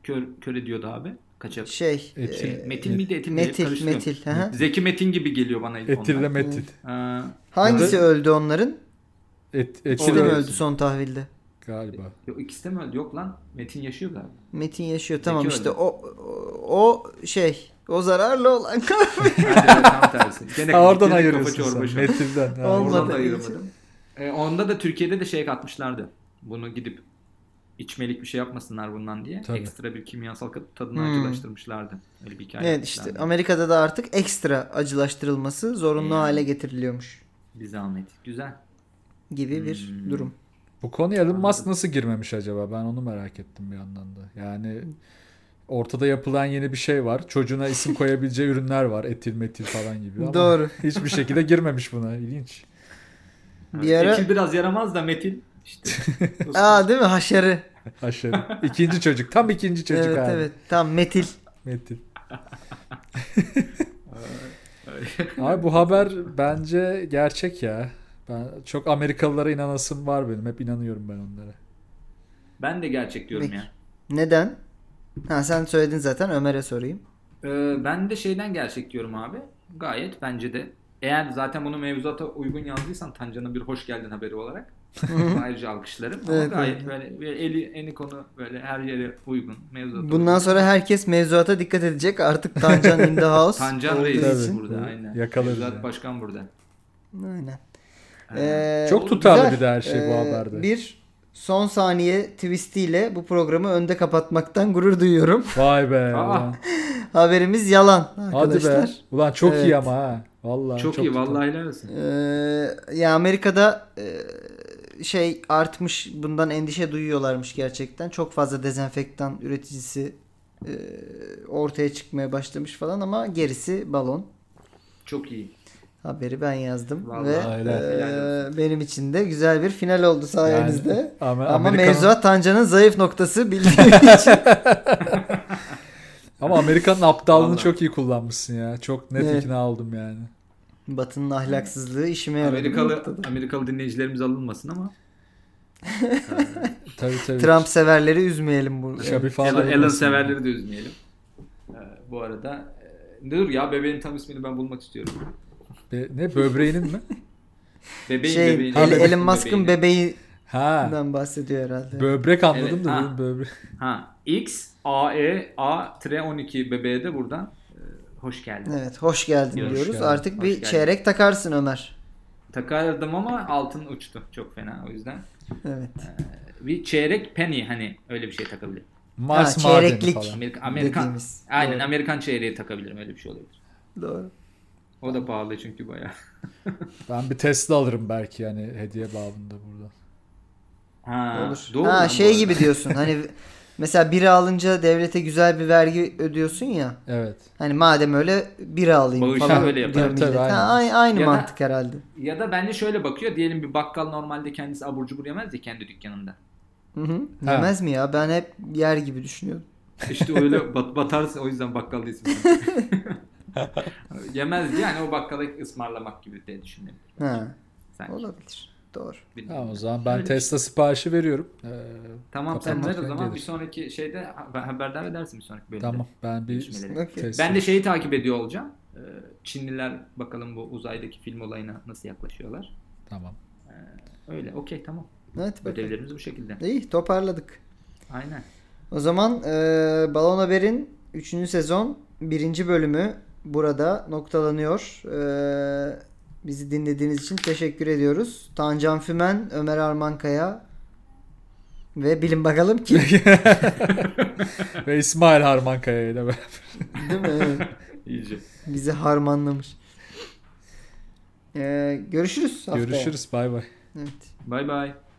[SPEAKER 3] kör, kör ediyordu abi? Kaçak.
[SPEAKER 1] şey.
[SPEAKER 2] Etil.
[SPEAKER 1] e,
[SPEAKER 3] Metil miydi etil miydi?
[SPEAKER 1] metil,
[SPEAKER 3] Karıştırıyorum.
[SPEAKER 1] metil. hı hı.
[SPEAKER 3] Zeki Metin gibi geliyor bana ilk
[SPEAKER 2] Etille
[SPEAKER 3] onlar.
[SPEAKER 2] metil.
[SPEAKER 3] Ee,
[SPEAKER 1] Hangisi
[SPEAKER 2] Ya
[SPEAKER 1] öldü onların?
[SPEAKER 2] Et,
[SPEAKER 1] Kim
[SPEAKER 2] etil
[SPEAKER 3] Orada-
[SPEAKER 1] öldü son tahvilde?
[SPEAKER 2] galiba.
[SPEAKER 3] yok ikisi de mi öldü? Yok lan. Metin yaşıyor galiba.
[SPEAKER 1] Metin yaşıyor tamam
[SPEAKER 3] Zeki
[SPEAKER 1] işte
[SPEAKER 3] öldü.
[SPEAKER 1] o, o o şey o zararlı olan
[SPEAKER 3] Hadi be, tam tersi. Gene
[SPEAKER 2] Ha, oradan
[SPEAKER 3] kafa
[SPEAKER 2] ayırıyorsun
[SPEAKER 3] çorba
[SPEAKER 2] sen.
[SPEAKER 3] şu an.
[SPEAKER 2] Metilden. ha.
[SPEAKER 1] Olmadı.
[SPEAKER 3] Oradan da ayıramadım. Ee, onda da Türkiye'de de şey katmışlardı. Bunu gidip içmelik bir şey yapmasınlar bundan diye.
[SPEAKER 2] Tabii.
[SPEAKER 3] Ekstra bir kimyasal katıp tadını
[SPEAKER 1] Hmm.
[SPEAKER 3] acılaştırmışlardı. Öyle bir hikaye.
[SPEAKER 1] evet işte Amerika'da da artık ekstra acılaştırılması zorunlu
[SPEAKER 3] Yani.
[SPEAKER 1] hale getiriliyormuş
[SPEAKER 3] Bir zahmet. Güzel.
[SPEAKER 1] gibi bir
[SPEAKER 3] Hmm.
[SPEAKER 1] durum.
[SPEAKER 2] Bu konuya Elon Musk nasıl girmemiş acaba? Ben onu merak ettim bir yandan da. Yani ortada yapılan yeni bir şey var. Çocuğuna isim koyabileceği ürünler var. Etil metil falan gibi ama
[SPEAKER 1] Doğru.
[SPEAKER 2] hiçbir şekilde girmemiş buna. İlginç.
[SPEAKER 1] Bir
[SPEAKER 3] Evet,
[SPEAKER 1] ara-
[SPEAKER 3] Etil biraz yaramaz da Metin işte.
[SPEAKER 1] Aa değil mi haşarı?
[SPEAKER 2] Aşağı. İkinci çocuk. Tam ikinci çocuk
[SPEAKER 1] evet
[SPEAKER 2] abi.
[SPEAKER 1] evet tam metil.
[SPEAKER 2] Metin. Abi bu haber bence gerçek ya. Ben çok Amerikalılara inanasım var benim. Hep inanıyorum ben onlara.
[SPEAKER 3] ben de gerçek diyorum
[SPEAKER 1] Peki.
[SPEAKER 3] ya.
[SPEAKER 1] Neden? Ha sen söyledin zaten Ömer'e sorayım.
[SPEAKER 3] Ee, ben de şeyden gerçek diyorum abi. Gayet bence de. Eğer zaten bunu mevzuata uygun yazdıysan Tancan'ın bir hoş geldin haberi olarak. Ayrıca alkışlarım. Ama
[SPEAKER 1] Evet,
[SPEAKER 3] gayet
[SPEAKER 1] evet.
[SPEAKER 3] böyle, böyle eli eni konu böyle her yere uygun. Mevzuata
[SPEAKER 1] Bundan
[SPEAKER 3] uygun.
[SPEAKER 1] sonra herkes mevzuata dikkat edecek. Artık Tancan in the house.
[SPEAKER 3] Tancan
[SPEAKER 1] olduğu
[SPEAKER 3] Reis
[SPEAKER 1] için.
[SPEAKER 3] burada
[SPEAKER 2] Tabii.
[SPEAKER 3] aynen.
[SPEAKER 2] Yakalarız
[SPEAKER 3] Mevzuat
[SPEAKER 2] yani.
[SPEAKER 3] Başkan burada.
[SPEAKER 1] Aynen.
[SPEAKER 3] Ee,
[SPEAKER 1] Ee,
[SPEAKER 2] Çok tutarlı
[SPEAKER 1] güzel.
[SPEAKER 2] bir de her şey bu
[SPEAKER 1] Ee,
[SPEAKER 2] haberde.
[SPEAKER 1] Bir son saniye twistiyle bu programı önde kapatmaktan gurur duyuyorum.
[SPEAKER 2] Vay be.
[SPEAKER 3] Aa.
[SPEAKER 2] ulan.
[SPEAKER 1] Haberimiz yalan
[SPEAKER 2] Hadi
[SPEAKER 1] arkadaşlar.
[SPEAKER 2] be. Ulan çok
[SPEAKER 1] Evet.
[SPEAKER 2] iyi ama ha. Vallahi
[SPEAKER 3] çok, iyi
[SPEAKER 2] tutar.
[SPEAKER 3] vallahi helal olsun.
[SPEAKER 1] Ee, ya Amerika'da e, şey artmış bundan endişe duyuyorlarmış gerçekten. Çok fazla dezenfektan üreticisi e, ortaya çıkmaya başlamış falan ama gerisi balon.
[SPEAKER 3] Çok iyi.
[SPEAKER 1] Haberi ben yazdım
[SPEAKER 3] Vallahi
[SPEAKER 1] ve
[SPEAKER 2] helal.
[SPEAKER 1] e,
[SPEAKER 3] Helal
[SPEAKER 1] benim için de güzel bir final oldu sayenizde.
[SPEAKER 2] Yani ama
[SPEAKER 1] Ama
[SPEAKER 2] Amerika'nın-
[SPEAKER 1] mevzuat Tancan'ın zayıf noktası bildiğim
[SPEAKER 2] Ama Amerika'nın aptallığını
[SPEAKER 3] Vallahi.
[SPEAKER 2] çok iyi kullanmışsın ya. Çok net
[SPEAKER 1] Evet.
[SPEAKER 2] ikna oldum yani.
[SPEAKER 1] Batı'nın ahlaksızlığı işime yaradı.
[SPEAKER 3] Amerikalı Amerikalı dinleyicilerimiz alınmasın ama.
[SPEAKER 2] Tabii tabii.
[SPEAKER 1] Trump severleri üzmeyelim
[SPEAKER 3] Şey,
[SPEAKER 1] bu. şey.
[SPEAKER 2] Şabi falan
[SPEAKER 3] Alan Alan
[SPEAKER 2] olmasın.
[SPEAKER 3] severleri de üzmeyelim. Ee, bu arada e, dur ya bebeğin tam ismini ben bulmak istiyorum.
[SPEAKER 2] Be- ne böbreğinin mi?
[SPEAKER 3] Bebeğin
[SPEAKER 1] Şey,
[SPEAKER 3] bebeğin.
[SPEAKER 1] El-
[SPEAKER 3] bebeğin
[SPEAKER 1] Elon Musk'ın
[SPEAKER 3] bebeğini.
[SPEAKER 1] bebeğinden
[SPEAKER 2] Ha.
[SPEAKER 1] bahsediyor herhalde.
[SPEAKER 2] Böbrek anladım
[SPEAKER 3] Evet,
[SPEAKER 2] da
[SPEAKER 3] ha.
[SPEAKER 2] benim böbrek.
[SPEAKER 3] Ha X A E A 12 bebeğe de buradan e, hoş geldin.
[SPEAKER 1] Evet hoş geldin
[SPEAKER 3] Hoş
[SPEAKER 1] diyoruz.
[SPEAKER 2] geldin.
[SPEAKER 1] Artık
[SPEAKER 3] Hoş
[SPEAKER 1] bir
[SPEAKER 3] geldin.
[SPEAKER 1] çeyrek takarsın Ömer.
[SPEAKER 3] Takardım ama altın uçtu çok fena o yüzden.
[SPEAKER 1] Evet.
[SPEAKER 3] Bir çeyrek penny hani öyle bir şey takabilirim.
[SPEAKER 2] Mars
[SPEAKER 1] Ha,
[SPEAKER 2] madeni
[SPEAKER 1] çeyreklik.
[SPEAKER 2] falan.
[SPEAKER 3] Amerika, Amerikan.
[SPEAKER 1] Dediğimiz.
[SPEAKER 3] Aynen
[SPEAKER 1] Doğru.
[SPEAKER 3] Amerikan çeyreği takabilirim öyle bir şey olabilir.
[SPEAKER 1] Doğru.
[SPEAKER 3] O da pahalı çünkü bayağı.
[SPEAKER 2] Ben bir Tesla alırım belki yani hediye babında burada.
[SPEAKER 3] Ha,
[SPEAKER 1] Olur.
[SPEAKER 3] doğru lan
[SPEAKER 1] ha
[SPEAKER 3] bu
[SPEAKER 1] şey
[SPEAKER 3] arada.
[SPEAKER 1] gibi diyorsun. Hani mesela biri alınca devlete güzel bir vergi ödüyorsun ya.
[SPEAKER 2] Evet.
[SPEAKER 1] Hani madem öyle bir alayım
[SPEAKER 3] Bağışlar
[SPEAKER 1] falan.
[SPEAKER 3] öyle yapar.
[SPEAKER 1] diyor
[SPEAKER 2] Tabii, tabii,
[SPEAKER 1] millet. Ha,
[SPEAKER 2] aynen.
[SPEAKER 1] aynı aynı
[SPEAKER 3] Ya da-
[SPEAKER 1] mantık herhalde.
[SPEAKER 3] Ya da bence şöyle bakıyor. Diyelim bir bakkal normalde kendisi abur cubur yemez ya kendi dükkanında.
[SPEAKER 1] Hı hı.
[SPEAKER 2] Ha.
[SPEAKER 1] Yemez mi ya? Ben hep yer gibi düşünüyorum.
[SPEAKER 3] İşte öyle bat, batarsın o yüzden bakkal değilsin. yemez yani o bakkala ısmarlamak gibi diye düşünüyorum.
[SPEAKER 1] Ha,
[SPEAKER 3] Sen
[SPEAKER 1] olabilir. Doğru.
[SPEAKER 2] Ha, o zaman ben
[SPEAKER 3] şey.
[SPEAKER 2] Tesla siparişi veriyorum. Ee,
[SPEAKER 3] Tamam sen
[SPEAKER 2] Tamam,
[SPEAKER 3] ver o
[SPEAKER 2] ben
[SPEAKER 3] zaman
[SPEAKER 2] gelirim.
[SPEAKER 3] bir sonraki şeyde haber- haberdar edersin bir sonraki bölümde.
[SPEAKER 2] tamam ben bir
[SPEAKER 3] Gelişmeleri.
[SPEAKER 1] Okey.
[SPEAKER 2] Tesla.
[SPEAKER 3] Ben de şeyi takip ediyor olacağım. Ee, Çinliler bakalım bu uzaydaki film olayına nasıl yaklaşıyorlar.
[SPEAKER 2] Tamam.
[SPEAKER 3] Öyle okey tamam.
[SPEAKER 1] Evet bakalım.
[SPEAKER 3] Ödevlerimiz bu şekilde.
[SPEAKER 1] İyi toparladık.
[SPEAKER 3] Aynen.
[SPEAKER 1] O zaman e, Balon Haber'in 3. sezon 1. bölümü burada noktalanıyor. E, bizi dinlediğiniz için teşekkür ediyoruz. Tancan Fümen, Ömer Armankaya, Ve bilin bakalım ki
[SPEAKER 2] Ve İsmail Harmankaya ile beraber.
[SPEAKER 1] değil mi? Evet.
[SPEAKER 3] İyice.
[SPEAKER 1] Bizi harmanlamış. Ee, görüşürüz haftaya.
[SPEAKER 2] Görüşürüz. Bay bay.
[SPEAKER 1] Evet.
[SPEAKER 3] Bay bay.